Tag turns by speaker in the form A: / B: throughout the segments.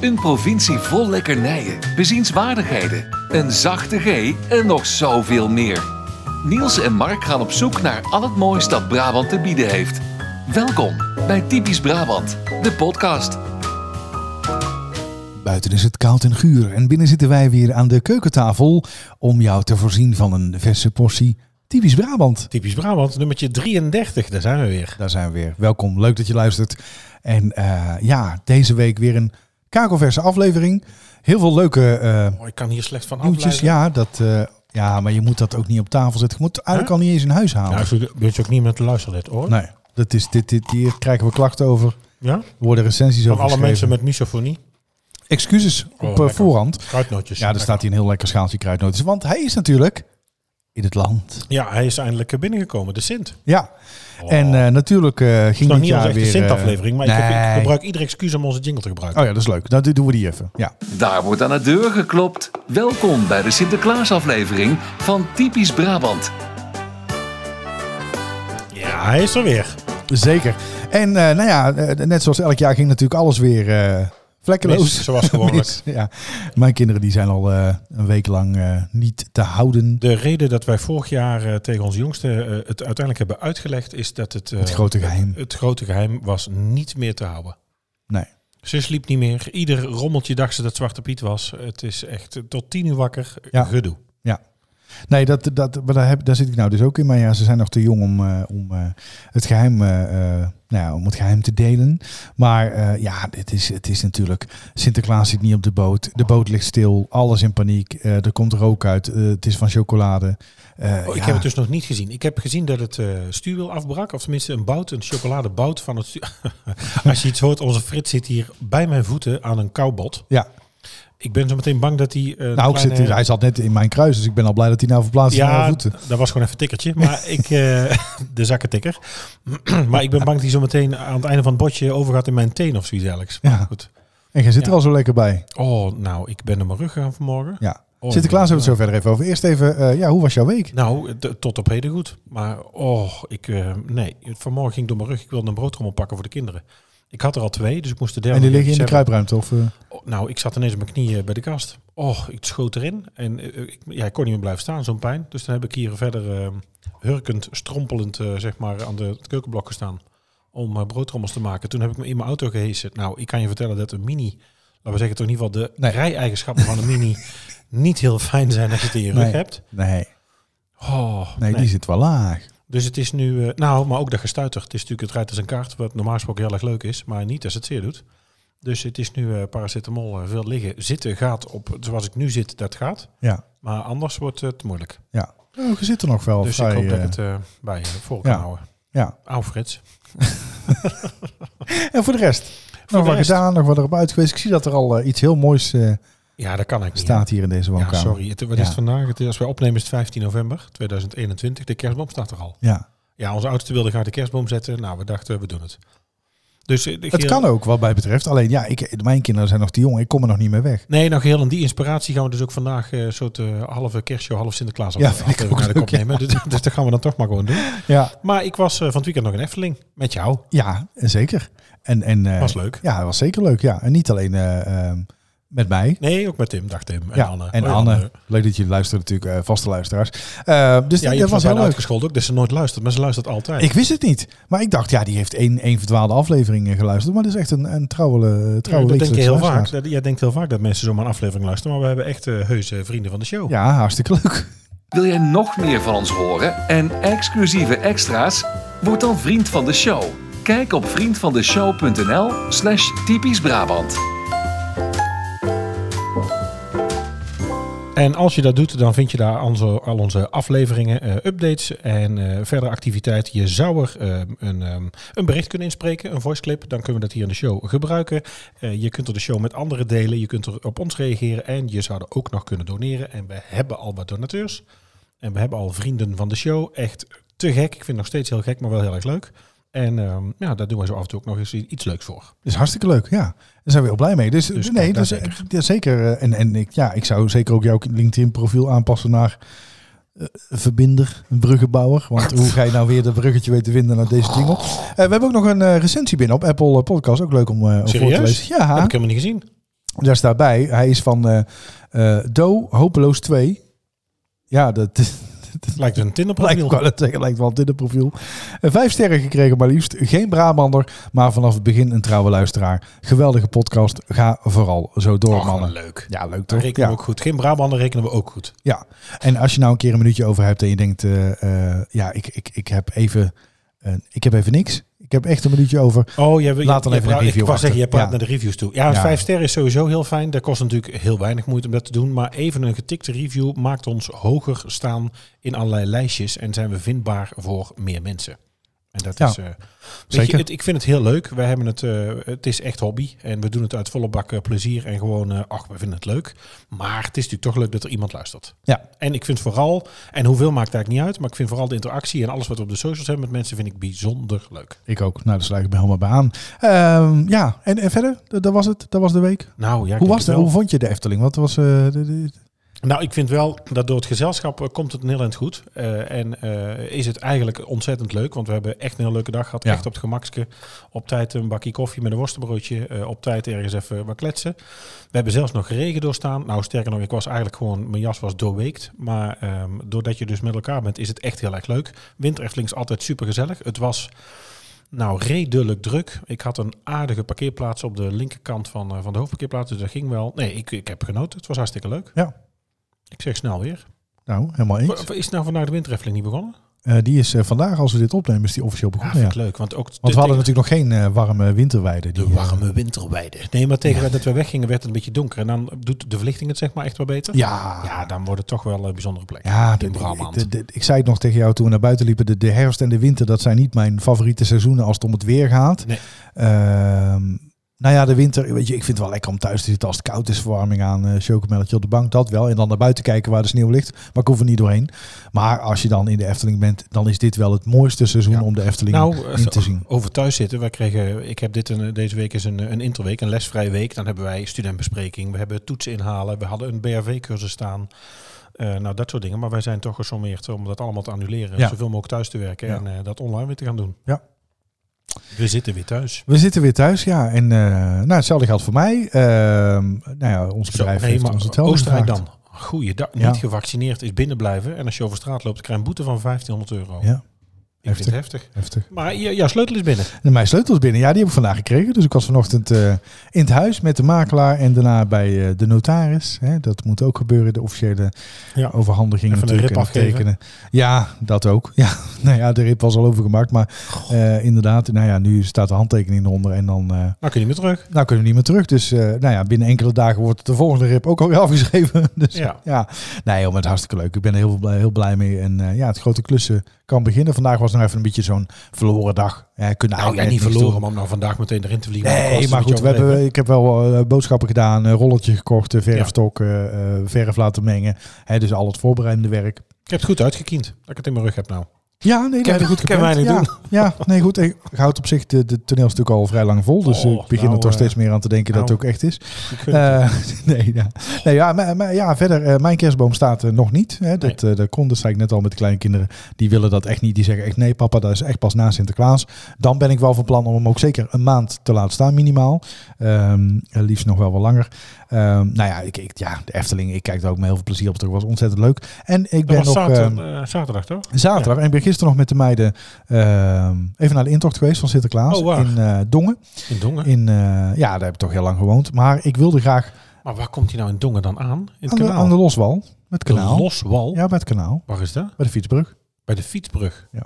A: Een provincie vol lekkernijen, bezienswaardigheden, een zachte G en nog zoveel meer. Niels en Mark gaan op zoek naar al het moois dat Brabant te bieden heeft. Welkom bij Typisch Brabant, de podcast.
B: Buiten is het koud en guur en binnen zitten wij weer aan de keukentafel om jou te voorzien van een verse portie typisch Brabant.
C: Typisch Brabant, nummertje 33, daar zijn we weer.
B: Daar zijn we weer. Welkom, leuk dat je luistert. En eh, ja, deze week weer een kakelverse aflevering. Heel veel leuke eh
C: Oh, ik kan hier slecht van
B: nieuwtjes. Ja,
C: afleiden.
B: dat, eh, ja, maar je moet dat ook niet op tafel zetten. Je moet het eigenlijk al niet eens in huis halen.
C: Nou, zo- weet je ook niet met de luisterlet, hoor.
B: nee, dat is, dit, dit, hier krijgen we klachten over.
C: Ja?
B: Er worden recensies
C: Van
B: over
C: alle mensen
B: geschreven.
C: met misofonie.
B: Excuses op
C: Oh,
B: eh,
C: lekker.
B: voorhand.
C: Kruidnootjes.
B: Ja, er staat hier een heel lekker schaaltje kruidnoten. Want hij is natuurlijk in het land.
C: Ja, hij is eindelijk binnengekomen, de Sint.
B: Ja,
C: Oh.
B: en eh, natuurlijk eh,
C: Het
B: ging
C: is nog
B: dit
C: niet
B: jaar
C: onze echte
B: weer... eh,
C: Sint-aflevering, maar ik, heb- ik
B: nee.
C: gebruik iedere excuus om onze jingle te gebruiken.
B: Oh ja, dat is leuk. Nou, dit doen we die even. Ja.
A: Daar wordt aan de deur geklopt. Welkom bij de Sinterklaasaflevering van Typisch Brabant.
B: Ah.
C: Ja, hij is er weer.
B: Zeker. En eh, nou ja, eh, net zoals elk jaar ging natuurlijk alles weer eh, vlekkeloos.
C: Mis, zoals gewoonlijk.
B: Mis, ja. Mijn kinderen die zijn al eh, een week lang eh, niet te houden.
C: De reden dat wij vorig jaar eh, tegen onze jongste eh, het uiteindelijk hebben uitgelegd, is dat het, eh,
B: Het grote geheim.
C: het grote geheim was niet meer te houden.
B: Nee.
C: Ze sliep niet meer. Ieder rommeltje dacht ze dat Zwarte Piet was. Het is echt eh, tot tien uur wakker.
B: Ja.
C: Gedoe.
B: Nee, dat, dat, maar daar, heb, daar zit ik nou dus ook in. Maar ja, ze zijn nog te jong om, eh, om, eh, het, geheim, eh, eh, nou ja, om het geheim te delen. Maar eh, ja, het is, het is natuurlijk... Sinterklaas zit niet op de boot. De boot ligt stil. Alles in paniek. Eh, er komt rook uit. eh, het is van chocolade. Eh,
C: Oh, ik
B: ja.
C: heb het dus nog niet gezien. Ik heb gezien dat het eh, stuurwiel afbrak. Of tenminste een bout, een chocoladebout van het stuur. Als je iets hoort, onze Frits zit hier bij mijn voeten aan een koubot.
B: Ja,
C: Ik ben zo meteen bang dat hij... eh,
B: nou, ik
C: kleine-
B: zit, hier- hij zat net in mijn kruis, dus ik ben al blij dat hij nou verplaatst is naar
C: Ja,
B: mijn voeten.
C: dat was gewoon even een tikkertje. Maar ik, eh, de zakkentikker. maar ik ben bang dat hij zo meteen aan het einde van het botje overgaat in mijn teen of zoiets dergelijks. Maar
B: Ja.
C: nou, goed.
B: En jij zit
C: Ja.
B: er al zo lekker bij.
C: Oh, nou, ik ben naar mijn rug gegaan vanmorgen.
B: Ja.
C: Oh,
B: Sinterklaas
C: ja.
B: hebben we het zo verder even over. Eerst even, eh, ja, hoe was jouw week?
C: Nou, t- tot op heden goed. Maar oh, ik, eh, nee, vanmorgen ging ik door mijn rug. Ik wilde een broodtrommel pakken voor de kinderen. Ik had er al twee, dus ik moest de derde.
B: en die
C: nog
B: liggen in de
C: eventjes
B: kruipruimte? Of, eh,
C: hebben. Oh, Nou, ik zat ineens op mijn knieën bij de kast. Oh, ik schoot erin. En eh, ik, ja, ik kon niet meer blijven staan, zo'n pijn. Dus dan heb ik hier verder eh, hurkend, strompelend, eh, zeg maar, aan de, het keukenblok gestaan. Om eh, broodtrommels te maken. Toen heb ik me in mijn auto gehesen. Nou, ik kan je vertellen dat een mini, laten we zeggen, toch in ieder geval de
B: Nee.
C: rij-eigenschappen van een mini niet heel fijn zijn als je het in je rug
B: Nee.
C: hebt.
B: nee.
C: Oh,
B: nee, die zit wel laag.
C: dus het is nu, eh, nou, maar ook dat gestuiter. Het is natuurlijk, het rijdt als een kaart, wat normaal gesproken heel erg leuk is, maar niet als het zeer doet. Dus het is nu eh, paracetamol, eh, veel liggen. Zitten gaat op, zoals ik nu zit, dat gaat.
B: Ja,
C: Maar anders wordt het moeilijk.
B: ja. Nou, je zit er nog wel.
C: dus
B: vrij,
C: ik hoop dat
B: eh,
C: ik het eh, bij je voor
B: ja.
C: kan houden.
B: ja.
C: Au Frits.
B: En voor de rest?
C: de
B: nog wat
C: rest.
B: gedaan, nog wat erop uit geweest. Ik zie dat er al eh, iets heel moois eh,
C: Ja, dat kan ik niet.
B: staat hier in deze
C: ja,
B: woonkamer.
C: sorry. Het, wat is het
B: Ja.
C: vandaag? Het, is- als wij opnemen is het 15 november 2021. De kerstboom staat er al.
B: Ja.
C: Ja, onze oudste wilde graag de kerstboom zetten. Nou, we dachten, we doen het. Dus eh, de
B: Het
C: geel-
B: kan ook, wat mij betreft. Alleen, ja, ik, mijn kinderen zijn nog te jong. Ik kom er nog niet meer weg.
C: Nee, nou geheel en die inspiratie gaan we dus ook vandaag eh, een soort eh, halve kerstshow, half Sinterklaas
B: Ja,
C: af-
B: vind ik
C: aflevering
B: ook
C: naar de
B: leuk,
C: kop nemen. Dus, dus dat gaan we dan toch maar gewoon doen.
B: Ja,
C: Maar ik was eh, van het weekend nog in Efteling met jou.
B: ja zeker. En, en, eh,
C: Was leuk.
B: Ja, was zeker leuk. Ja. En niet alleen eh, ehm, met mij.
C: Nee, ook met Tim, dag Tim. En
B: ja,
C: Anne.
B: en
C: Hoi,
B: Anne. Leuk dat jullie luisteren natuurlijk, eh, vaste luisteraars. Eh, dus
C: Ja,
B: dat-
C: je
B: dat
C: hebt
B: was heel leuk.
C: uitgescholden ook, dus ze nooit luistert, maar ze luistert altijd.
B: Ik wist het niet. Maar ik dacht, ja, die heeft één, één verdwaalde aflevering eh, geluisterd. Maar dit is echt een, een trouwe, eh, trouwe
C: Ja, dat denk je
B: wekelijkse
C: heel
B: luisteraar.
C: vaak. Dat- Jij denkt heel vaak dat mensen zomaar een aflevering luisteren, maar we hebben echt eh, heuse vrienden van de show.
B: Ja, hartstikke leuk.
A: Wil jij nog meer van ons horen en exclusieve extra's? Word dan vriend van de show. Kijk op vriendvandeshow.nl slash typisch Brabant.
C: En als je dat doet, dan vind je daar onze, al onze afleveringen, eh, updates en eh, verdere activiteit. Je zou er eh, een, ehm, een bericht kunnen inspreken, een voiceclip. Dan kunnen we dat hier in de show gebruiken. Eh, je kunt er de show met anderen delen. Je kunt er op ons reageren. En je zou er ook nog kunnen doneren. En we hebben al wat donateurs. En we hebben al vrienden van de show. Echt te gek. Ik vind het nog steeds heel gek, maar wel heel erg leuk. En ehm, ja, daar doen we zo af en toe ook nog eens iets leuks voor.
B: Dus hartstikke leuk, ja. Daar zijn we heel blij mee. Dus,
C: Dus
B: nee,
C: kijk
B: dus,
C: daar
B: zeker. Ja, zeker. eh, En, en ik, ja, ik zou zeker ook jouw LinkedIn-profiel aanpassen naar eh, een verbinder, een bruggenbouwer. Want hoe ga je nou weer dat bruggetje weten te vinden naar deze jingle? Eh, we hebben ook nog een eh, recensie binnen op Apple eh, Podcast. Ook leuk om, eh, om voor te
C: Serieus?
B: lezen.
C: Dat heb
B: Ja,
C: ik helemaal niet gezien.
B: Daar staat bij, hij is van eh eh, Do, hopeloos 2. Ja, dat,
C: Het lijkt een
B: lijkt, ik
C: Tinderprofiel.
B: wou net zeggen, lijkt wel op dit profiel. Eh, Vijf sterren gekregen, maar liefst geen Brabander, maar vanaf het begin een trouwe luisteraar. Geweldige podcast, ga vooral zo door,
C: Och,
B: mannen.
C: leuk.
B: Ja, leuk
C: Daar
B: toch?
C: rekenen
B: Ja.
C: we ook goed. Geen Brabander rekenen we ook goed.
B: Ja, en als je nou een keer een minuutje over hebt en je denkt, eh, eh, ja, ik, ik, ik, heb even, eh, ik heb even niks. Ik heb echt een minuutje over.
C: Oh, je, je-
B: Laat dan
C: je
B: even een
C: praat-
B: review
C: Ik wou zeggen, je
B: achter.
C: praat
B: Ja.
C: naar de reviews toe. Ja,
B: Ja.
C: vijf sterren is sowieso heel fijn. Dat kost natuurlijk heel weinig moeite om dat te doen. Maar even een getikte review maakt ons hoger staan in allerlei lijstjes. En zijn we vindbaar voor meer mensen. En dat
B: Ja.
C: is... eh, weet
B: Zeker.
C: Je, het- ik vind het heel leuk. Wij hebben het, eh, het is echt hobby. En we doen het uit volle bak eh, plezier. En gewoon, eh, ach, we vinden het leuk. Maar het is natuurlijk toch leuk dat er iemand luistert.
B: Ja,
C: En ik vind vooral, en hoeveel maakt eigenlijk niet uit, maar ik vind vooral de interactie en alles wat we op de socials hebben met mensen, vind ik bijzonder leuk.
B: ik ook. Nou, daar sluit ik me helemaal bij aan. Ehm, ja, en, en verder, dat dat was het. Dat was de week.
C: Nou, ja, ik
B: Hoe,
C: denk
B: was de,
C: wel.
B: hoe vond je de Efteling? Wat was eh, de- de-
C: Nou, ik vind wel dat door het gezelschap eh, komt het een heel eind goed. Eh, en eh, is het eigenlijk ontzettend leuk. Want we hebben echt een heel leuke dag gehad.
B: Ja.
C: Echt op het gemakske. Op tijd een bakje koffie met een worstenbroodje. eh, op tijd ergens even wat kletsen. We hebben zelfs nog regen doorstaan. Nou, sterker nog, ik was eigenlijk gewoon... Mijn jas was doorweekt. Maar ehm, doordat je dus met elkaar bent, is het echt heel erg leuk. Winter Efteling is altijd super gezellig. Het was... Nou, redelijk druk. Ik had een aardige parkeerplaats op de linkerkant van, eh, van de hoofdparkeerplaats. Dus dat ging wel. Nee, ik, ik heb genoten. Het was hartstikke leuk.
B: Ja.
C: Ik zeg snel weer.
B: Nou, helemaal eens.
C: Wa- Is nou vandaag de wintereffeling niet begonnen?
B: Eh, die is eh, vandaag, als we dit opnemen, is die officieel
C: Ja,
B: begonnen.
C: vind
B: Ja,
C: ik leuk. Want ook
B: Want
C: dit-
B: we hadden natuurlijk nog geen eh, warme winterweide. Die,
C: de
B: eh,
C: warme winterweide. Nee, maar tegen dat we weggingen werd het een beetje donker. En dan doet de verlichting het zeg maar echt wel beter.
B: ja,
C: Ja, dan wordt het toch wel een bijzondere plek.
B: Ja,
C: in
B: de-
C: Brabant.
B: de- de- ik zei het nog tegen jou toen we naar buiten liepen. De, de herfst en de winter, dat zijn niet mijn favoriete seizoenen als het om het weer gaat.
C: Nee.
B: Ehm, nou ja, de winter, weet je, ik vind het wel lekker om thuis te zitten als het koud is. Verwarming aan, eh chocomelletje op de bank, dat wel. En dan naar buiten kijken waar de sneeuw ligt. Maar ik hoef er niet doorheen. Maar als je dan in de Efteling bent, dan is dit wel het mooiste seizoen
C: Ja.
B: om de Efteling
C: nou, eh,
B: in te zien.
C: over thuis zitten. Wij kregen, ik heb dit een, deze week is een, een interweek, een lesvrije week. Dan hebben wij studentbespreking, we hebben toetsen inhalen, we hadden een BRV-cursus staan. Eh, nou, dat soort dingen. Maar wij zijn toch gesommeerd om dat allemaal te annuleren.
B: Ja.
C: Zoveel mogelijk thuis te werken
B: Ja.
C: en eh, dat online weer te gaan doen.
B: Ja.
C: We zitten weer thuis.
B: We zitten weer thuis, ja. En eh, nou, hetzelfde geldt voor mij. Ehm, nou ja, ons bedrijf
C: nee,
B: heeft
C: maar
B: ons hetzelfde
C: Oostenrijk
B: gevraagd.
C: dan. Goeiedag.
B: Ja.
C: Niet gevaccineerd is binnen blijven. En als je over straat loopt, krijg je een boete van 1500 euro.
B: Ja.
C: Ik vind het heftig.
B: Heftig.
C: Maar je- jouw sleutel is binnen.
B: En mijn sleutels binnen. Ja, die heb ik vandaag gekregen. Dus ik was vanochtend eh, in het huis met de makelaar en daarna bij eh, de notaris. Hè, dat moet ook gebeuren, de officiële
C: Ja.
B: overhandiging
C: Even een
B: natuurlijk.
C: rip
B: en het
C: afgeven.
B: Ja, dat ook. Ja, nou ja, de rip was al overgemaakt. Maar eh, inderdaad, nou ja, nu staat de handtekening eronder en dan... eh,
C: Nou kun je niet meer terug.
B: nou kunnen we niet meer terug. Dus eh, nou ja, binnen enkele dagen wordt de volgende rip ook alweer afgeschreven. Dus ja.
C: Ja.
B: Nee, joh, maar het is hartstikke leuk. Ik ben er heel, blij- heel blij mee. En eh, ja, het grote klussen kan beginnen. Vandaag was nog even een beetje zo'n verloren dag. Eh, kunnen eigenlijk
C: Nou, ja,
B: echt
C: niet
B: niks
C: verloren,
B: doen.
C: maar om nou vandaag meteen erin te vliegen. Dat was
B: Nee,
C: een
B: maar
C: beetje
B: goed, we hebben,
C: overdreven.
B: ik heb wel eh, boodschappen gedaan, een rolletje gekocht, eh, verfstok, eh, eh, verf laten mengen. Hè, dus al het voorbereidende werk.
C: Ik heb het goed uitgekiend. Dat ik het in mijn rug heb nou.
B: Ja, nee,
C: Kan-
B: dat heb ik goed
C: kan
B: gepland.
C: mij niet
B: ja, ja, nee, goed. Ik houd op zich de, de toneelstuk al vrij lang vol. Dus eh,
C: Oh,
B: ik begin
C: nou,
B: er toch
C: eh,
B: steeds meer aan te denken dat
C: nou.
B: het ook echt is.
C: Ik gun het je.
B: Eh, nee, ja. nee ja, maar, maar ja, verder, eh, mijn kerstboom staat er nog niet. Hè. Dat, eh, dat kon, dat zei ik net al met de kleine kinderen. Die willen dat echt niet. Die zeggen echt, nee papa, dat is echt pas na Sinterklaas. Dan ben ik wel van plan om hem ook zeker een maand te laten staan, minimaal. Ehm, eh, liefst nog wel wat langer. Ehm, nou ja, ik, ik, ja, de Efteling, ik kijk daar ook met heel veel plezier op terug. was ontzettend leuk. En ik ben
C: dat was
B: nog... ehm,
C: zaterdag, eh, zaterdag, toch?
B: Zaterdag. En ik ben gisteren nog met de meiden ehm, even naar de intocht geweest van Sinterklaas
C: Oh, waar?
B: in eh, Dongen.
C: In Dongen.
B: In, eh, ja, daar heb ik toch heel lang gewoond. Maar ik wilde graag
C: Maar waar komt hij nou in Dongen dan aan? In het
B: aan, de,
C: kanaal.
B: aan de Loswal. Met het kanaal.
C: De Loswal.
B: Ja, bij het kanaal.
C: Waar is dat?
B: Bij de fietsbrug.
C: Bij de fietsbrug.
B: Ja.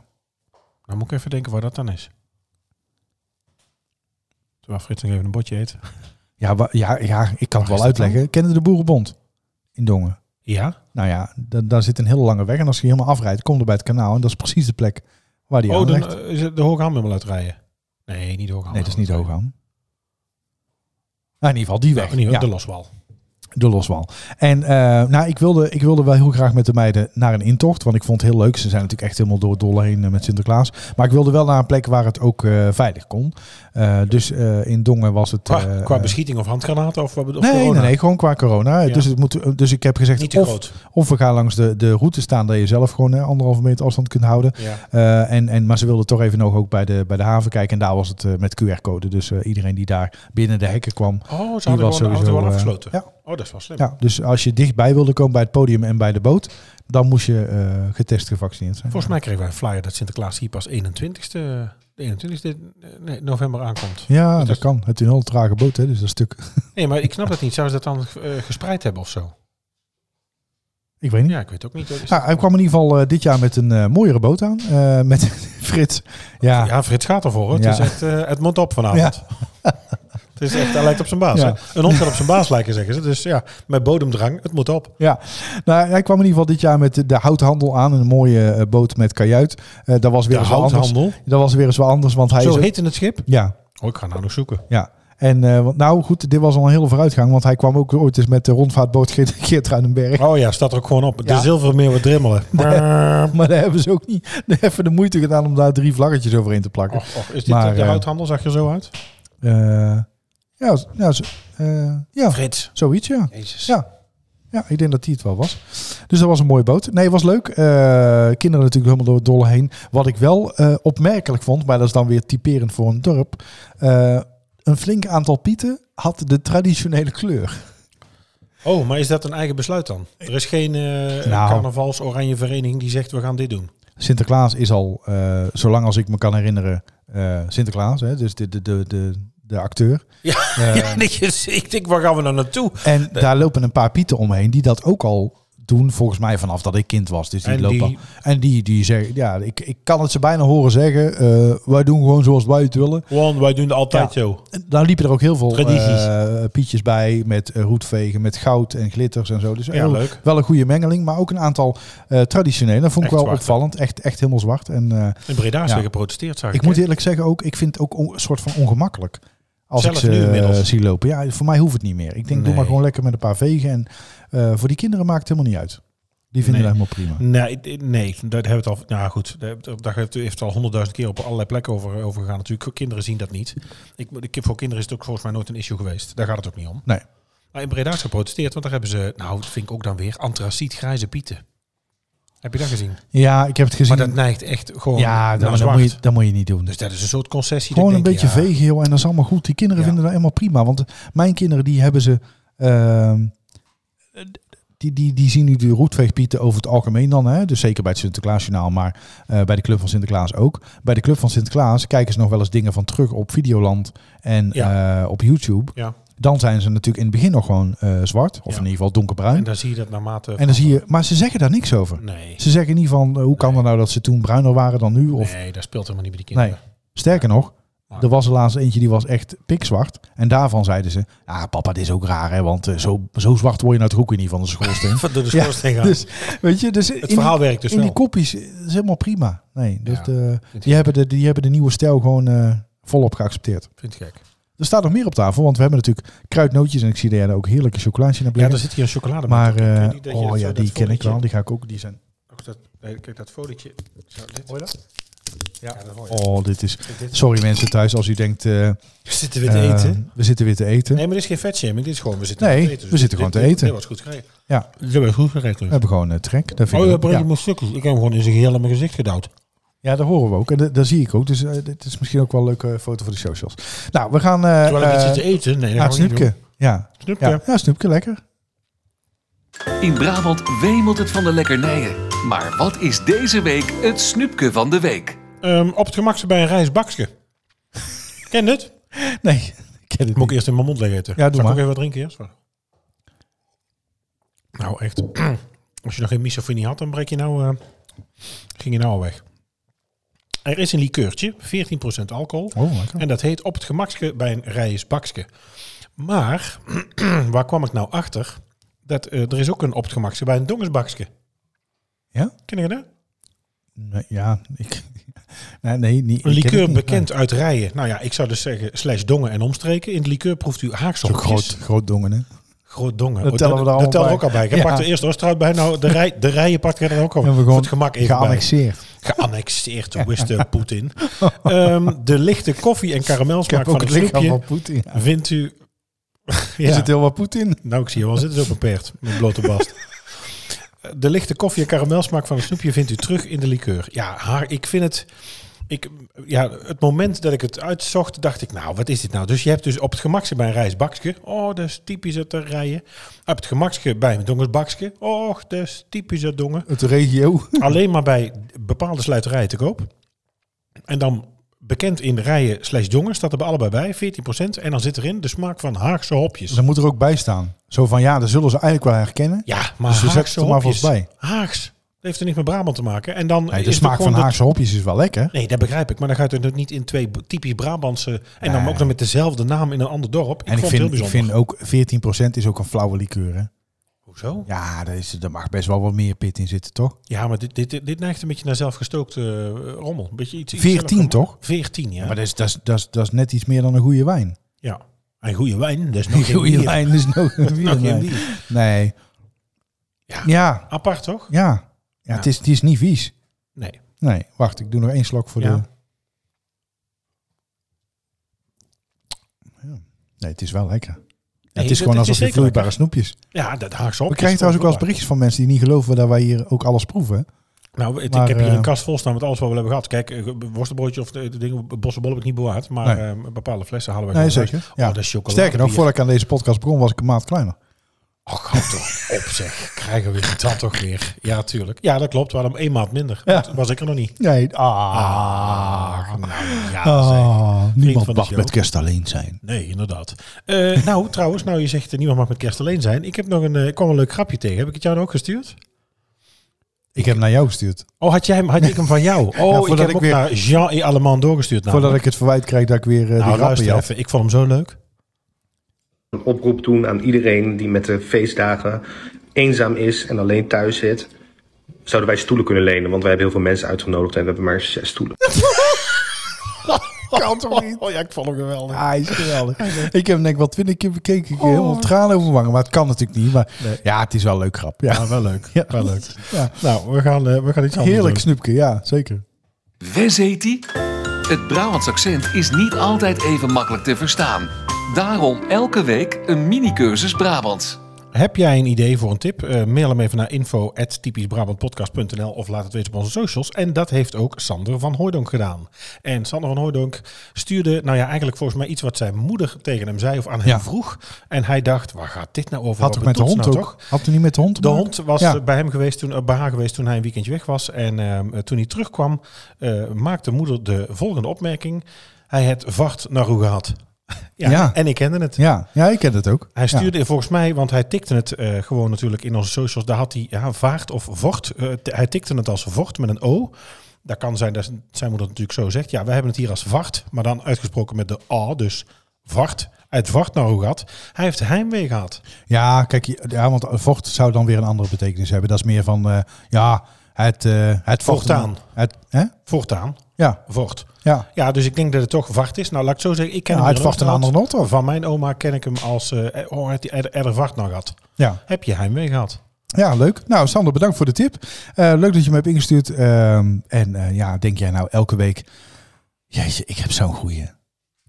C: Nou moet ik even denken waar dat dan is. Terwijl Frits nog even een botje eet.
B: Ja, wa- ja, ja, ik kan het
C: Waar
B: wel
C: is dat dan?
B: uitleggen. Kennen de Boerenbond in Dongen?
C: Ja?
B: Nou ja, da- daar zit een hele lange weg. En als je helemaal afrijdt, kom je bij het kanaal. En dat is precies de plek waar die
C: oh,
B: aan
C: dan
B: ligt.
C: eh, is het de Hoge Hammel uitrijden. Nee, niet de Hoge Hammel.
B: Nee, dat is niet hoog aan. Nou, in ieder geval die
C: Ja,
B: weg.
C: in ieder geval
B: Ja.
C: de Oh, Loswal.
B: De Loswal. En eh, nou, ik wilde, ik wilde wel heel graag met de meiden naar een intocht. Want ik vond het heel leuk. Ze zijn natuurlijk echt helemaal door het dolle heen eh, met Sinterklaas. Maar ik wilde wel naar een plek waar het ook eh, veilig kon. Eh, dus eh, in Dongen was het...
C: Qua,
B: eh,
C: qua
B: eh,
C: beschieting of handgranaten of, wat- of
B: nee,
C: corona?
B: nee, nee, gewoon qua corona.
C: Ja.
B: Dus, het moet, dus ik heb gezegd,
C: Niet te
B: of,
C: groot.
B: of we gaan langs de, de route staan dat je zelf gewoon eh, anderhalve meter afstand kunt houden.
C: Ja.
B: Eh, en, en, maar ze wilden toch even nog ook bij de, bij de haven kijken. En daar was het eh, met QR-code. Dus eh, iedereen die daar binnen de hekken kwam.
C: Oh,
B: Die
C: ze hadden
B: was
C: gewoon de auto
B: sowieso,
C: wel
B: eh,
C: afgesloten.
B: ja.
C: Oh, dat is wel slim.
B: Ja, dus als je dichtbij wilde komen bij het podium en bij de boot, dan moest je eh, getest gevaccineerd zijn.
C: Volgens mij kregen wij een flyer dat Sinterklaas hier pas 21ste, de 21ste nee, november aankomt.
B: Ja,
C: Dus
B: dat kan. Het is een heel trage boot, hè, dus dat stuk.
C: Nee, maar ik snap dat niet. Zouden ze dat dan eh, gespreid hebben of zo?
B: Ik weet niet.
C: Ja, ik weet het ook niet. hoor. Is
B: Nou,
C: dat-
B: hij kwam in ieder geval eh, dit jaar met een eh, mooiere boot aan. eh, met Frits. Ja,
C: Ja, Frits gaat ervoor. hoor. Het
B: Ah. Ja.
C: is echt, eh, het mond op vanavond. het is echt, hij lijkt op zijn baas.
B: Ja.
C: hè? Een hond kan op zijn baas lijken, zeggen ze. Dus ja, met bodemdrang, het moet op.
B: Ja, nou, hij kwam in ieder geval dit jaar met de, de houthandel aan. Een mooie eh, boot met kajuit. Eh, dat was weer
C: De
B: eens wat anders.
C: houthandel.
B: Dat was weer eens wat anders, want hij is...
C: Zo
B: ook-
C: heette het schip.
B: Ja,
C: Oh, ik ga nou nog zoeken.
B: ja. En eh, want nou goed, dit was al een hele vooruitgang, want hij kwam ook ooit eens met de rondvaartboot Geert, Geert Ruidenberg.
C: Oh ja, staat er ook gewoon op. De
B: Ja.
C: zilvermeeuwen drimmelen.
B: Maar daar hebben ze ook niet even de moeite gedaan om daar drie vlaggetjes overheen te plakken.
C: Och, och, Oh, is dit
B: Maar,
C: de
B: eh,
C: houthandel? Zag je zo uit? Oh.
B: Eh, ja, z- ja, z- eh, ja,
C: Frits.
B: zoiets ja.
C: Jezus.
B: Ja. Ja, ik denk dat die het wel was. Dus dat was een mooie boot. Nee, was leuk. Eh, kinderen natuurlijk helemaal door het dolle heen. Wat ik wel eh, opmerkelijk vond, maar dat is dan weer typerend voor een dorp. eh, een flink aantal pieten had de traditionele kleur.
C: Oh, maar is dat een eigen besluit dan? Er is geen eh
B: Nou.
C: carnavals-oranje vereniging die zegt we gaan dit doen.
B: Sinterklaas is al, eh, zolang als ik me kan herinneren, eh, Sinterklaas. Hè, dus de, de, de, de, de acteur.
C: Ja,
B: Eh,
C: Ja, dat je- ik denk, waar gaan we nou naartoe?
B: En daar lopen een paar pieten omheen die dat ook al doen, volgens mij vanaf dat ik kind was. Dus die
C: En
B: lopen.
C: die-
B: En die, die zeggen, ja, ik, ik kan het ze bijna horen zeggen. eh, wij doen gewoon zoals wij het willen.
C: Want wij doen het altijd
B: Ja.
C: zo.
B: En daar liepen er ook heel veel
C: Tradities.
B: eh, pietjes bij met eh, roetvegen, met goud en glitters en zo. Dus
C: Ja,
B: heel-
C: leuk.
B: wel een goede mengeling, maar ook een aantal eh, traditionele. Dat vond ik
C: Echt
B: wel
C: zwart, hè?
B: opvallend. Echt, echt helemaal zwart. En eh,
C: In Breda is
B: Ja.
C: weer geprotesteerd, zag ik.
B: ik moet eerlijk zeggen ook, ik vind het ook on- een soort van ongemakkelijk. Als
C: Zelfs
B: ik
C: nu
B: ze eh,
C: inmiddels.
B: zie lopen. Ja, voor mij hoeft het niet meer. Ik denk, doe
C: Nee.
B: maar gewoon lekker met een paar vegen. En eh, voor die kinderen maakt het helemaal niet uit. Die vinden
C: Nee.
B: dat helemaal prima.
C: Nee, d- nee, dat hebben we het al. Nou goed, daar heb- daar heeft u heeft het al honderdduizend keer op allerlei plekken over, over gegaan. Natuurlijk, kinderen zien dat niet. Ik, ik, voor kinderen is het ook volgens mij nooit een issue geweest. Daar gaat het ook niet om.
B: Nee.
C: Maar in Breda is geprotesteerd, want daar hebben ze, nou, dat vind ik ook dan weer, antracietgrijze pieten. Heb je dat gezien?
B: Ja, ik heb het gezien.
C: Maar dat neigt echt gewoon
B: ja,
C: naar
B: dan,
C: zwart.
B: moet je, dat moet je niet doen.
C: Dus dat is een soort concessie.
B: Gewoon
C: dat
B: een
C: ik denk,
B: beetje
C: ja,
B: vegen, joh. En dat is allemaal goed. Die kinderen
C: Ja.
B: vinden dat helemaal prima. Want eh, mijn kinderen, die hebben ze... ehm, die, die, die zien nu de roetveegpieten over het algemeen dan. Hè? Dus zeker bij het Sinterklaasjournaal, maar eh, bij de Club van Sinterklaas ook. Bij de Club van Sinterklaas kijken ze nog wel eens dingen van terug op Videoland en eh, op YouTube.
C: Ja.
B: Dan zijn ze natuurlijk in het begin nog gewoon eh, zwart. Of
C: Ja.
B: in ieder geval donkerbruin.
C: En
B: En,
C: dan zie je dat naarmate...
B: dan zie je... Maar ze zeggen daar niks over.
C: Nee,
B: Ze zeggen niet van, eh, hoe kan
C: Nee.
B: het nou dat ze toen bruiner waren dan nu? Of
C: nee, dat speelt helemaal niet bij die
B: Nee.
C: kinderen.
B: Sterker nog,
C: Maar-
B: er was er laatst eentje die was echt pikzwart. En daarvan zeiden ze, ah papa, dit is ook raar hè, want eh, zo, zo zwart word je nou toch ook weer niet van de schoorsteen.
C: Van door de
B: Ja,
C: schoorsteen gaan.
B: dus, weet je, dus
C: het verhaal werkt dus
B: in die
C: wel.
B: kopjes eh, is helemaal prima. Nee, dus
C: Ja.
B: de, die, hebben de, die hebben de nieuwe stijl gewoon eh, volop geaccepteerd.
C: Vind ik gek.
B: Er staat nog meer op tafel, want we hebben natuurlijk kruidnootjes en ik zie daar ook heerlijke chocolaatje naar
C: Ja,
B: brengen.
C: er zit hier een chocolade.
B: maar eh,
C: Niet dat je
B: oh
C: dat
B: ja,
C: zo-
B: die
C: dat
B: ken ik wel.
C: fotootje-
B: Die ga ik ook. Die zijn.
C: Ook dat- nee, kijk, dat fotootje. Zo, dit.
B: Hoor je dat?
C: Ja, dat hoor je.
B: Oh, dit is.
C: Kijk, dit.
B: Sorry mensen thuis, als u denkt. eh,
C: Zitten we te
B: eh,
C: eten?
B: we zitten weer te eten.
C: Nee, maar dit is geen vetshaming. Dit is gewoon, we zitten
B: Nee,
C: gewoon te eten.
B: we zitten
C: dit-
B: gewoon te
C: dit-
B: eten.
C: Dit was goed geregeld.
B: Ja.
C: Dit was goed geregeld.
B: We hebben gewoon eh, trek. Daar vind
C: Oh
B: ik
C: ja,
B: ook-
C: breng je maar stukjes. Ik heb hem gewoon in zijn geheel aan mijn gezicht gedouwd.
B: Ja, daar horen we ook. En dat, dat zie ik ook. Dus eh, dit is misschien ook wel een leuke eh, foto voor de socials. Nou, we gaan... eh
C: Terwijl ik
B: eh,
C: iets zit te eten. Nee, dat
B: naar
C: gaan
B: het
C: we niet
B: snoepje. Ja.
C: doen. Snoepje.
B: Ja. ja, snoepje, lekker.
A: In Brabant wemelt het van de lekkernijen. Maar wat is deze week het snoepje van de week?
C: Ehm, op het gemak ze bij een rijstbakje. Ken je het?
B: Nee, ik ken het
C: Moet ik
B: niet.
C: eerst in mijn mond leggen eten?
B: Ja, doe
C: Zal
B: maar.
C: ik ook even wat drinken eerst? Wacht. Nou, echt. Als je nog geen misofonie had, dan breek je nou, eh, ging je nou al weg. Er is een likeurtje, 14% alcohol.
B: Oh, lekker.
C: En dat heet op het gemakske bij een rijstbakske. Maar, waar kwam ik nou achter? Dat, eh, er is ook een op het gemakske bij een dongensbakske.
B: Ja?
C: Ken je dat?
B: Nee, ja, ik... Nee, nee, niet,
C: Een
B: ik ken het
C: likeur
B: niet.
C: bekend uit rijen. Nou ja, ik zou dus zeggen, slash dongen en omstreken. In de likeur proeft u
B: Nee. Zo'n
C: haaksopjes.
B: groot, groot dongen, hè?
C: Groot Dongen.
B: Dat
C: Oh,
B: tellen we er allemaal
C: dat tellen
B: bij.
C: ook al bij. Je
B: Ja.
C: pakt er eerst Oosterhout bij. Nou, de, rij, de rijen pakt er dan ook al
B: En we
C: voor
B: gewoon
C: het gemak even bij.
B: geannexeerd.
C: Geannexeerd, hoe is de Poetin? Ehm, de lichte koffie en karamelsmaak van het
B: lichaam
C: snoepje
B: van Poetin. Ja.
C: vindt u...
B: Er
C: ja,
B: zit heel wat Poetin.
C: nou ik zie je wel zitten op een paard met blote bast. De lichte koffie en karamelsmaak van het snoepje vindt u terug in de likeur. Ja, haar, ik vind het... Ik, ja, het moment dat ik het uitzocht, dacht ik, nou, wat is dit nou? Dus je hebt dus op het gemakje bij een rijstbakje. Oh, dat is typisch uit de rijen. Op het gemakje bij een dongensbakje. Oh, dat is typisch uit dongen
B: Het regio.
C: alleen maar bij bepaalde sluiterijen te koop. En dan bekend in de rijen slash jongen staat er bij allebei bij, 14%. En dan zit erin de smaak van Haagse hopjes.
B: Dan moet er ook bij staan. Zo van, ja, dat zullen ze eigenlijk wel herkennen.
C: Ja, maar
B: Dus je zet
C: Haagse
B: er maar
C: hopjes.
B: vast bij.
C: Haags. Dat heeft er niks met Brabant te maken. En dan
B: Nee,
C: is
B: de
C: het
B: smaak
C: gewoon
B: van
C: dat-
B: Haagse hopjes is wel lekker.
C: Nee, dat begrijp ik. Maar dan gaat het niet in twee b- typisch Brabantse... En dan
B: Nee.
C: ook nog met dezelfde naam in een ander dorp. Ik
B: en ik
C: vond het
B: vind,
C: heel
B: ik
C: bijzonder.
B: vind ook 14% is ook een flauwe liqueur. Hè?
C: Hoezo?
B: Ja, daar, is, daar mag best wel wat meer pit in zitten, toch?
C: Ja, maar dit, dit, dit neigt een beetje naar zelfgestookte eh, rommel. Een beetje iets, iets
B: 14
C: zelfgestookte-
B: toch?
C: 14, ja.
B: Maar dat is, dat, is, dat, is, dat is net iets meer dan een goede wijn.
C: ja. En goede wijn, dat is nog geen
B: goede
C: bier.
B: wijn is nog een
C: Nog
B: bier,
C: geen
B: nee.
C: bier.
B: Nee.
C: Ja.
B: Ja, ja.
C: Apart, toch?
B: ja. Het, is, het is niet vies.
C: Nee.
B: Nee, wacht, ik doe nog één slok voor
C: Ja.
B: de... Ja. Nee, het is wel lekker. het
C: het-
B: is gewoon
C: het
B: alsof
C: is
B: je
C: zeker
B: vloeibare
C: lekker.
B: snoepjes.
C: Ja, dat haaks op.
B: We krijgen trouwens ook wel eens berichtjes van mensen die niet geloven dat wij hier ook alles proeven. hè?
C: Nou, het- ik
B: maar,
C: heb hier
B: eh,
C: een kast vol staan met alles wat we hebben gehad. Kijk, eh, worstenbroodje of de, de dingen, bossenbol heb ik niet bewaard. Maar
B: Nee.
C: eh, bepaalde flessen halen we
B: Nee,
C: gewoon thuis.
B: zeker. Ja.
C: Oh, dat is chocolade.
B: Sterker nog,
C: bier.
B: voordat ik aan deze podcast begon, was ik een maand kleiner.
C: Och, houd toch op zeg. Krijgen we dat toch weer. Ja, tuurlijk. Ja, dat klopt. We hadden hem één maand minder.
B: Ja.
C: Dat was ik er nog niet.
B: Nee, ah.
C: Ah, nou, ja, zeg.
B: Ah,
C: van
B: niemand
C: de
B: mag
C: show.
B: met kerst alleen zijn.
C: Nee, inderdaad. Eh, nou, trouwens, nou je zegt eh, niemand mag met kerst alleen zijn. Ik heb nog een, eh, ik kwam een leuk grapje tegen. Heb ik het jou nou ook gestuurd?
B: Ik heb naar jou gestuurd.
C: Oh, had, jij hem, had ik hem van jou? Oh, ik
B: voordat
C: heb
B: ik
C: ook
B: weer-
C: naar Jean et Allemand doorgestuurd. namelijk.
B: Voordat ik het verwijt krijg dat ik weer eh,
C: Nou,
B: die grappen
C: luister
B: jou.
C: even. Ik vond hem zo leuk.
D: een oproep doen aan iedereen die met de feestdagen eenzaam is en alleen thuis zit. Zouden wij stoelen kunnen lenen? Want wij hebben heel veel mensen uitgenodigd en we hebben maar zes stoelen.
B: Kan toch niet?
C: Oh ja, ik vond hem geweldig.
B: Ah, hij is geweldig. Oh. Ik heb hem denk ik wel twintig keer bekeken. Ik heb helemaal tranen over mijn wangen. Maar het kan natuurlijk niet. Maar ja, het is wel een leuk grap. Ja,
C: Ja, wel leuk.
B: Ja.
C: Wel leuk.
B: Ja.
C: Nou, we gaan, eh, we gaan iets anders
B: Heerlijk
C: doen.
B: snoepje, ja, zeker.
A: Wes heet die? Het Brabants accent is niet altijd even makkelijk te verstaan. Daarom elke week een mini-cursus Brabants.
C: Heb jij een idee voor een tip? Eh, mail hem even naar info.typischbrabantpodcast.nl of laat het weten op onze socials. En dat heeft ook Sander van Hooydonk gedaan. En Sander van Hooydonk stuurde, nou ja, eigenlijk volgens mij iets wat zijn moeder tegen hem zei of aan hem
B: Ja.
C: vroeg. En hij dacht, waar gaat dit nou over?
B: Had
C: Wat
B: ook met de
C: bedoelt
B: hond
C: ze nou
B: ook. Had hij niet met de hond te
C: De
B: maken?
C: hond was
B: Ja.
C: eh, bij hem geweest toen, eh, bij haar geweest toen hij een weekendje weg was. En ehm, toen hij terugkwam, eh, maakte moeder de volgende opmerking. Hij het vacht naar u gehad. ja,
B: Ja.
C: En ik kende het.
B: Ja, ja ik ken het ook.
C: Hij
B: Ja.
C: stuurde volgens mij, want hij tikte het eh, gewoon natuurlijk in onze socials. Daar had hij ja, vaart of vocht. eh, t- hij tikte het als vocht met een O. Dat kan zijn dat zijn moeder het natuurlijk zo zegt. Ja, wij hebben het hier als vacht, maar dan uitgesproken met de A. Dus vacht, uit vacht naar hoe gehad. Hij heeft heimwee gehad.
B: Ja, kijk, ja, want vocht zou dan weer een andere betekenis hebben. Dat is meer van, eh, ja, het, eh het vocht.
C: Voortaan.
B: Het, hè?
C: Voortaan,
B: Ja,
C: vocht.
B: ja.
C: Ja, dus ik denk dat het toch vacht is. Nou, laat ik het zo zeggen. Ik ken
B: Ja,
C: hem
B: het
C: hier
B: vacht een
C: ook
B: ander
C: nog.
B: not, of?
C: Van mijn oma ken ik hem als... eh, eh, oh, heeft hij er- er vacht nog gehad.
B: ja.
C: Heb je heimwee gehad?
B: Ja, leuk. Nou, Sander, bedankt voor de tip. Eh, leuk dat je me hebt ingestuurd. Ehm, en eh, ja, denk jij nou elke week... Jeetje, ik heb zo'n goeie.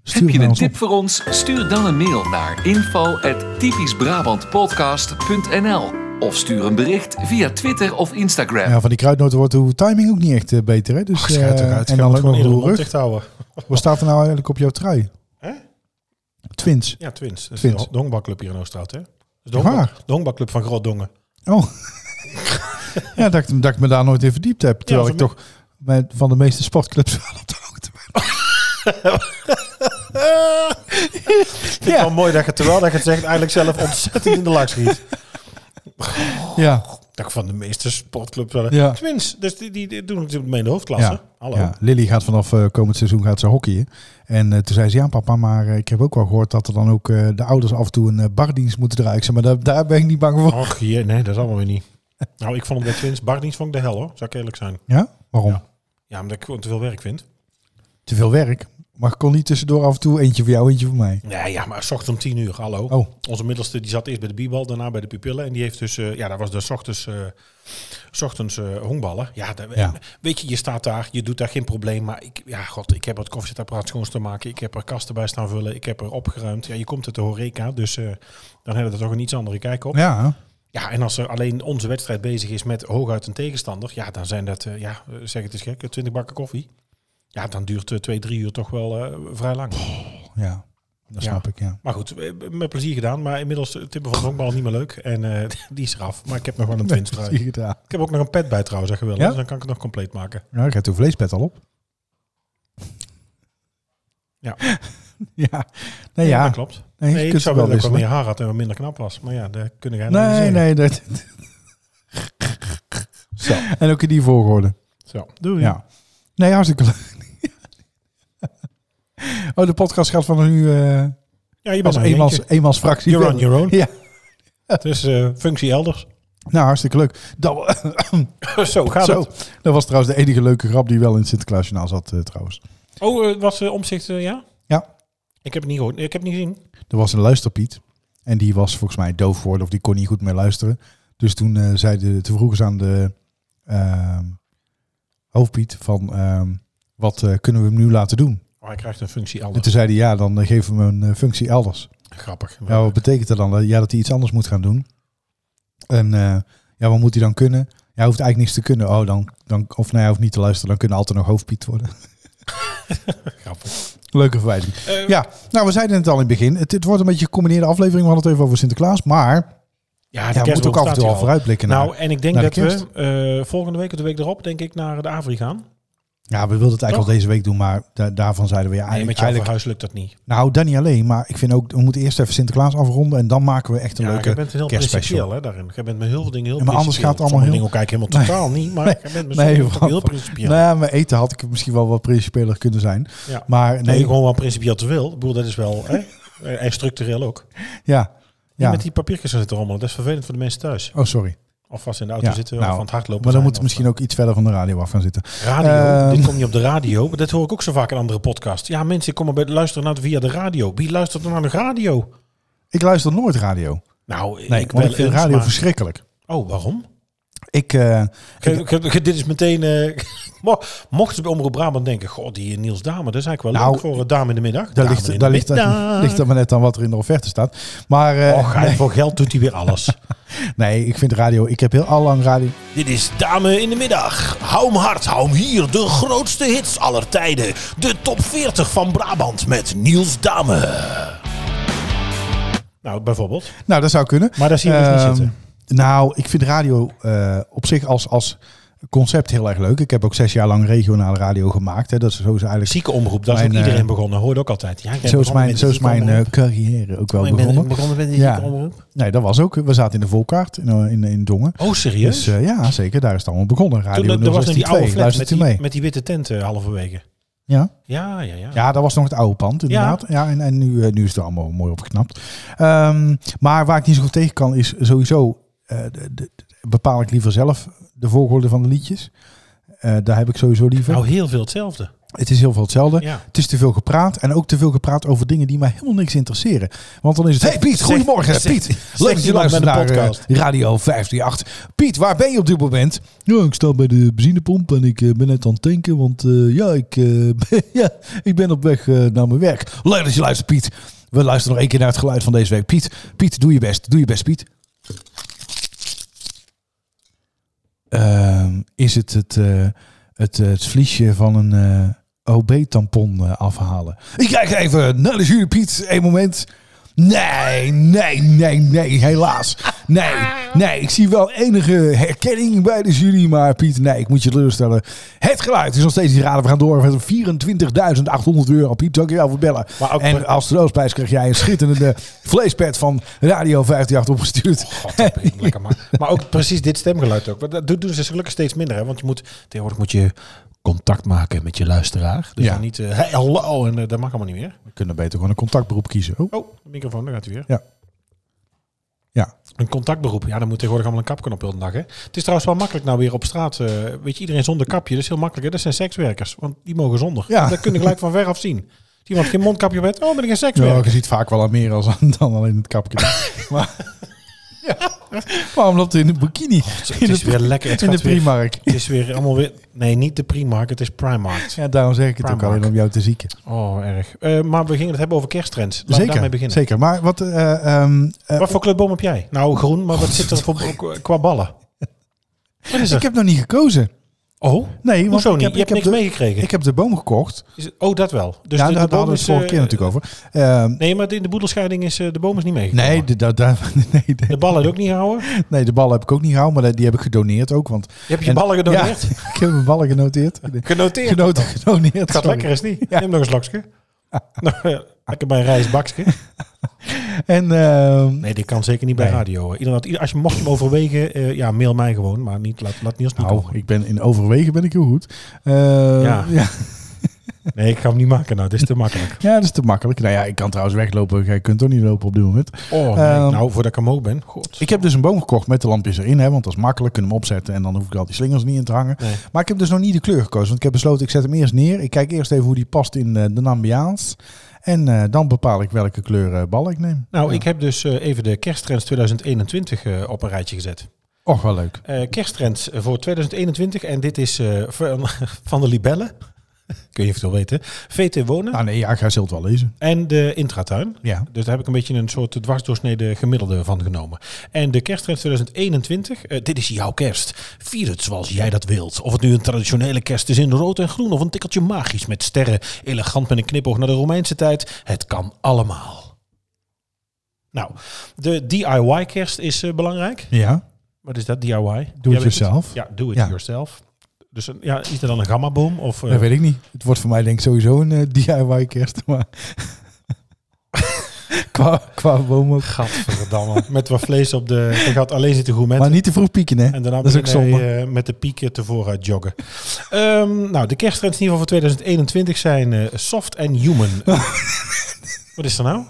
B: Stuur
A: Heb je
B: mij
A: een
B: ons
A: tip
B: op.
A: voor ons? Stuur dan een mail naar info.typischbrabantpodcast.nl of stuur een bericht via Twitter of Instagram.
B: Ja, van die kruidnoten wordt de timing ook niet echt eh, beter. Hè? Dus, eh,
C: Schijt eruit.
B: en dan ook
C: gewoon
B: nog
C: in
B: de
C: de
B: rug.
C: dicht houden.
B: Wat staat er nou eigenlijk op jouw trui?
C: Hè?
B: Twins.
C: Ja, Twins. Dat is
B: Twins.
C: de de honkbalclub hier in Oostraat, hè? Dat is de,
B: Echt
C: honkbal,
B: waar?
C: de honkbalclub van Grootdongen.
B: Oh. ja, dat ik, dat ik me daar nooit in verdiept heb. Terwijl
C: Ja,
B: ik
C: zo-
B: toch met, van de meeste sportclubs wel op de hoogte ben.
C: Vind ik wel mooi dat je terwijl dat je het zegt eigenlijk zelf ontzettend in de lak schiet.
B: Ja,
C: Dat ik van de meeste sportclubs wel.
B: Ja.
C: Twins, dus die, die, die doen het mee in de hoofdklasse. Hallo.
B: ja. Lily gaat vanaf eh, komend seizoen gaat ze hockeyen. En eh, toen zei ze, ja papa, maar eh, ik heb ook wel gehoord dat er dan ook eh, de ouders af en toe een eh, bardienst moeten draaien. Ik zeg, maar daar, daar ben ik niet bang voor.
C: Och, je, nee, dat is allemaal weer niet. Nou, ik vond hem bij Twins, Bardienst vond ik de hel hoor, zou ik eerlijk zijn.
B: Ja? Waarom?
C: Ja. Ja, omdat ik gewoon te veel werk vind.
B: Te veel werk. Maar ik kon niet tussendoor af en toe eentje voor jou, eentje voor mij.
C: Nee, ja, maar 's ochtends om tien uur, hallo.
B: Oh.
C: Onze middelste die zat eerst bij de biebal, daarna bij de pupillen. En die heeft dus, eh, ja, daar was dus 's ochtends, eh, 's ochtends eh, honkballen. Ja, daar-
B: Ja.
C: weet je, je staat daar, je doet daar geen probleem. Maar ik, ja, god, ik heb het koffiezetapparaat schoon te maken. Ik heb er kasten bij staan vullen. Ik heb er opgeruimd. Ja, je komt uit de horeca, dus eh, dan hebben we er toch een iets andere kijk op. Ja.
B: Ja, hè?
C: en als er alleen onze wedstrijd bezig is met hooguit een tegenstander, ja, dan zijn dat, eh, ja, eh, zeg het eens gek, eh, 20 bakken koffie. Ja, dan duurt eh, twee, drie uur toch wel eh, vrij lang.
B: ja. dat
C: Ja.
B: snap ik, ja.
C: Maar goed, eh, met plezier gedaan. Maar inmiddels eh, tippen van honkbal niet meer leuk. En eh, die is eraf. Maar ik heb nog wel een twinstrui.
B: Zie je daar.
C: Ik heb ook nog een pet bij trouwens, zeg je wel.
B: Ja?
C: Dus dan kan ik het nog compleet maken.
B: Nou, ik heb uw vleespet al op.
C: Ja.
B: ja. Nee,
C: dat
B: ja.
C: klopt.
B: Nee,
C: Nee,
B: je
C: ik
B: kunt het wel
C: zou willen dat ik wat
B: wisselen.
C: meer haar had en wat minder knap was. Maar ja, daar kunnen jij nog niet
B: Nee,
C: zeggen.
B: nee. Dat... Zo. En ook in die volgorde.
C: Zo, doei.
B: Ja. Nee, hartstikke leuk. oh, de podcast gaat vanaf nu eh
C: Ja, je bent
B: als
C: een
B: eenmans, eenmans fractie.
C: You're on your own.
B: Ja.
C: Dus eh, functie elders.
B: Nou, hartstikke leuk. Dat, wa-
C: Zo gaat
B: zo.
C: het.
B: dat was trouwens de enige leuke grap die wel in het Sinterklaasjournaal zat eh, trouwens.
C: Oh, eh, was eh, omzicht, eh, ja?
B: Ja.
C: Ik heb het niet gehoord. Ik heb het niet gezien.
B: Er was een luisterpiet. En die was volgens mij doof geworden of die kon niet goed meer luisteren. Dus toen, eh zeiden, toen vroegen ze aan de ehm, hoofdpiet van ehm, wat eh, kunnen we hem nu laten doen?
C: Oh, hij krijgt een functie
B: En
C: elders.
B: toen zei hij ja, dan eh, geven we hem een eh, functie elders.
C: Grappig.
B: Ja, wat betekent dat dan? Ja, dat hij iets anders moet gaan doen. En eh, ja, wat moet hij dan kunnen? Ja, hij hoeft eigenlijk niks te kunnen. Oh, dan, dan, of nou, hij hoeft niet te luisteren. Dan kunnen we altijd nog hoofdpiet worden.
C: Grappig.
B: Leuke verwijzing.
C: Eh,
B: Ja, nou, we zeiden het al in het begin. Het, het wordt een beetje een gecombineerde aflevering. We hadden het even over Sinterklaas. Maar
C: Ja,
B: Ja,
C: de
B: we moeten ook
C: kerstboom
B: af en
C: staat
B: toe
C: hier
B: al
C: al.
B: vooruitblikken.
C: Nou,
B: naar-
C: en ik denk
B: naar
C: dat
B: de
C: we eh, volgende week of de week erop, denk ik, naar de Avri gaan.
B: ja, we wilden het eigenlijk al deze week doen, maar da- daarvan zeiden we ja,
C: nee,
B: eigenlijk,
C: met jouw
B: eigenlijk-
C: verhuis lukt dat niet.
B: Nou, dat niet alleen, maar ik vind ook, we moeten eerst even Sinterklaas afronden en dan maken we echt een
C: Ja,
B: leuke
C: jij bent heel
B: kerstspecial.
C: principieel hè, daarin. Jij bent met heel veel dingen heel
B: Ja, maar anders
C: principieel.
B: gaat het allemaal
C: Sommige dingen ook eigenlijk helemaal totaal niet, maar
B: Nee,
C: jij bent met
B: nee,
C: sommige dingen
B: want-
C: heel principieel. Nee,
B: Nou, mijn eten had ik misschien wel wat principeler kunnen zijn.
C: Ja.
B: Maar nee,
C: gewoon wel principieel te veel. Ik bedoel, dat is wel... Hè? eh, En structureel ook. Niet
B: ja. ja.
C: met die papiertjes gaan zitten rommelen. Dat is vervelend voor de mensen thuis.
B: Oh, sorry.
C: Of vast in de auto
B: Ja,
C: zitten
B: nou,
C: of aan het hardlopen
B: Maar dan
C: zijn, eh,
B: moeten we
C: of- eh,
B: misschien ook iets verder van de radio af gaan zitten.
C: Radio,
B: Ehm.
C: dit komt niet op de radio. Maar dat hoor ik ook zo vaak in andere podcasts. Ja, mensen komen bij, luisteren naar, de- via de radio. Wie luistert er naar de radio?
B: Ik luister nooit radio.
C: Nou,
B: Nee,
C: ik
B: want
C: wel
B: ik vind
C: eens,
B: radio
C: maar-
B: verschrikkelijk.
C: Oh, waarom?
B: Ik, eh,
C: Ge- ge- ge- dit is meteen. eh, mo- mochten ze bij Omroep Brabant denken: Goh, die eh, Niels Dame, dat is eigenlijk wel
B: Nou,
C: leuk voor eh, Dame in de Middag.
B: daar
C: Dame
B: ligt,
C: in
B: daar
C: de
B: ligt,
C: middag.
B: ligt er maar net aan wat er in de offerte staat. Maar eh,
C: Och, hij, voor geld doet hij weer alles.
B: nee, ik vind radio, ik heb heel al lang radio.
C: dit is Dame in de Middag. Hou hem hard, hou hem hier. De grootste hits aller tijden. De top 40 van Brabant met Niels Dame. Nou, bijvoorbeeld.
B: Nou, dat zou kunnen.
C: Maar daar zie je dus niet
B: Ehm,
C: zitten.
B: Nou, ik vind radio eh, op zich als, als concept heel erg leuk. Ik heb ook zes jaar lang regionale radio gemaakt. Hè. Dat is zo is eigenlijk.
C: Zieke omroep, daar is ook
B: Mijn,
C: iedereen
B: eh,
C: begonnen. Hoorde ook altijd. Ja, ik ben
B: Zo is
C: begonnen
B: mijn,
C: met
B: zo
C: de
B: is
C: zieke
B: mijn eh,
C: omroep.
B: carrière ook wel
C: Oh, ik ben
B: begonnen.
C: begonnen met de
B: Ja.
C: zieke omroep.
B: Nee, dat was ook. We zaten in de volkaart in, eh, in, in Dongen.
C: Oh, serieus?
B: Dus eh, ja, zeker. Daar is het allemaal begonnen. Radio
C: Toen, er- er was nog die oude
B: 062.
C: flat met
B: Luistert u
C: die,
B: mee?
C: met die witte tent eh, halverwege.
B: Ja?
C: Ja, ja, ja.
B: Ja, dat was nog het oude pand, inderdaad. Ja, en, en nu, eh, nu is het allemaal mooi opgeknapt. Ehm, maar waar ik niet zo goed tegen kan, is sowieso eh, de- de- bepaal ik liever zelf de volgorde van de liedjes. Eh, daar heb ik sowieso liever.
C: Nou, heel veel hetzelfde.
B: het is heel veel hetzelfde.
C: Ja.
B: Het is te veel gepraat en ook te veel gepraat over dingen die mij helemaal niks interesseren. Want dan is het, hey Piet,
C: Zegt-
B: goedemorgen.
C: zegt-
B: Piet,
C: zegt
B: leuk dat je
C: iemand
B: luistert
C: met een
B: naar eh,
C: podcast.
B: Radio 538. Piet, waar ben je op dit moment? Ja, ik sta bij de benzinepomp en ik eh, ben net aan het tanken, want eh, ja, ik, eh, ben, ja, ik ben op weg eh, naar mijn werk. Leuk dat je luistert, Piet. We luisteren nog één keer naar het geluid van deze week. Piet, Piet, doe je best. Doe je best, Piet. Ehm, is het het, eh, het, eh, het vliesje van een eh, OB-tampon eh, afhalen? Ik kijk even naar de jury, Piet. Eén moment. Nee, nee, nee, nee, helaas. Nee, nee, ik zie wel enige herkenning bij de jury, maar Piet, nee, ik moet je teleurstellen. Het geluid is nog steeds niet raden. We gaan door met 24.800 euro. Piet, dankjewel voor het bellen.
C: Maar ook-
B: en als troostprijs krijg jij een schitterende vleespet van Radio 538 opgestuurd.
C: God, dat begint lekker maar. Maar ook precies dit stemgeluid ook. Want Dat doen ze gelukkig steeds minder. Hè? Want je moet, tegenwoordig moet je contact maken met je luisteraar. Dus
B: Ja.
C: dan niet, eh, hey, hallo, en eh, dat mag allemaal niet meer.
B: We kunnen beter gewoon een contactberoep kiezen. Oh,
C: Oh, de microfoon, daar gaat hij weer.
B: ja. Ja,
C: Een contactberoep. Ja, dan moet tegenwoordig allemaal een kapkon op heel de dag. Hè? Het is trouwens wel makkelijk nou weer op straat. eh, weet je, iedereen zonder kapje. Dat is heel makkelijk. Hè? Dat zijn sekswerkers. Want die mogen zonder.
B: Ja.
C: Dat kunnen gelijk van ver af zien. iemand geen mondkapje op heeft, oh, ben ik een
B: Ja,
C: sekswerker.
B: je ziet vaak wel aan meer als aan, dan alleen het kapje. maar ja. waarom loopt hij in een bikini?
C: het is
B: in de,
C: weer lekker. Oh, Het
B: in de
C: gaat weer-
B: Primark.
C: Het is weer allemaal weer... Nee, niet de Primark, het is Primark.
B: Ja, daarom zeg ik het ook
C: Primark.
B: alleen om jou te zieken.
C: Oh, erg. Eh, maar we gingen het hebben over kersttrends. Laten we daarmee
B: Zeker,
C: beginnen.
B: zeker. Maar wat... eh, ehm, eh,
C: Wat voor kleurboom heb jij? Nou, groen, maar wat zit er voor, qua ballen? Wat is
B: ik
C: er?
B: heb nog niet gekozen.
C: Oh,
B: Nee, want
C: hoezo
B: ik
C: niet?
B: heb, ik
C: je hebt
B: heb
C: niks
B: de,
C: meegekregen.
B: Ik heb de boom gekocht.
C: Is het- oh, dat wel. Dus
B: ja,
C: de,
B: daar daar
C: de boom
B: hadden we
C: is...
B: het vorige keer
C: eh,
B: natuurlijk over. Ehm,
C: Nee, maar in de boedelscheiding is eh, de boom is niet meegekomen.
B: nee, de, da- da- nee, de,
C: De ballen ook niet houden. Je
B: nee, de ballen heb ik ook niet gehouden, maar die heb ik gedoneerd ook. Want,
C: hebt je
B: En-
C: ballen gedoneerd.
B: Ja, ik heb mijn ballen genoteerd.
C: Genoteerd.
B: Genoten, gedoneerd.
C: Het gaat
B: sorry.
C: lekker, is niet? Neem nog een slokje. Nou, ja, lekker bij een rijstbakje.
B: En ehm,
C: Nee, dit kan zeker niet bij
B: Nee.
C: radio. hoor. Iedereen had- ieder- als je mocht hem overwegen, eh, ja, mail mij gewoon. Maar niet, laat, laat Niels niet
B: Nou,
C: over.
B: ik ben in overwegen ben ik heel goed. Eh,
C: Ja.
B: ja. Ja,
C: Nee, ik ga hem niet maken nou. Dit is te makkelijk.
B: dat is te makkelijk. Nou ja, ik kan trouwens weglopen. Jij kunt toch niet lopen op dit moment.
C: Oh, nee.
B: Ehm,
C: nou, voordat ik hem ook ben. God.
B: Ik heb dus een boom gekocht met de lampjes erin. Hè, want dat is makkelijk. Kunnen hem opzetten en dan hoef ik al die slingers niet in te hangen.
C: Nee.
B: Maar ik heb dus nog niet de kleur gekozen. Want ik heb besloten, ik zet hem eerst neer. Ik kijk eerst even hoe die past in eh, de Nambiaans. En eh, dan bepaal ik welke kleur eh, bal ik neem.
C: Nou, ik heb dus eh, even de kersttrends 2021 eh, op een rijtje gezet.
B: Och, wel leuk.
C: Eh kersttrends voor 2021. En dit is eh, van, van de libellen. Kun je eventueel weten. VT Wonen
B: Nou nee, ja, ik ga zult wel lezen.
C: en de Intratuin.
B: Ja.
C: Dus daar heb ik een beetje een soort dwarsdoorsnede gemiddelde van genomen. En de kersttrend 2021, eh, dit is jouw kerst. Vier het zoals jij dat wilt. Of het nu een traditionele kerst is in rood en groen of een tikkeltje magisch met sterren. Elegant met een knipoog naar de Romeinse tijd. Het kan allemaal. Nou, de DIY-kerst is eh, belangrijk.
B: Ja,
C: Wat is dat, DIY?
B: doe
C: Jij
B: het
C: weet
B: jezelf.
C: Ja, do it
B: Ja.
C: yourself. Dus een- ja, is er dan een gammaboom? Of, eh,
B: Dat weet ik niet. Het wordt voor mij denk ik sowieso een eh, DIY-kerst. Maar qua, qua boom ook.
C: Gadverdamme. met wat vlees op de... Je gaat alleen zitten goed
B: Maar niet te vroeg pieken, hè?
C: En daarna
B: Dat is ook
C: begin jij,
B: zonde.
C: eh, met de pieken tevoren uit joggen. Ehm, nou, de kersttrends in ieder geval voor 2021 zijn eh, soft en human. Wat is er nou?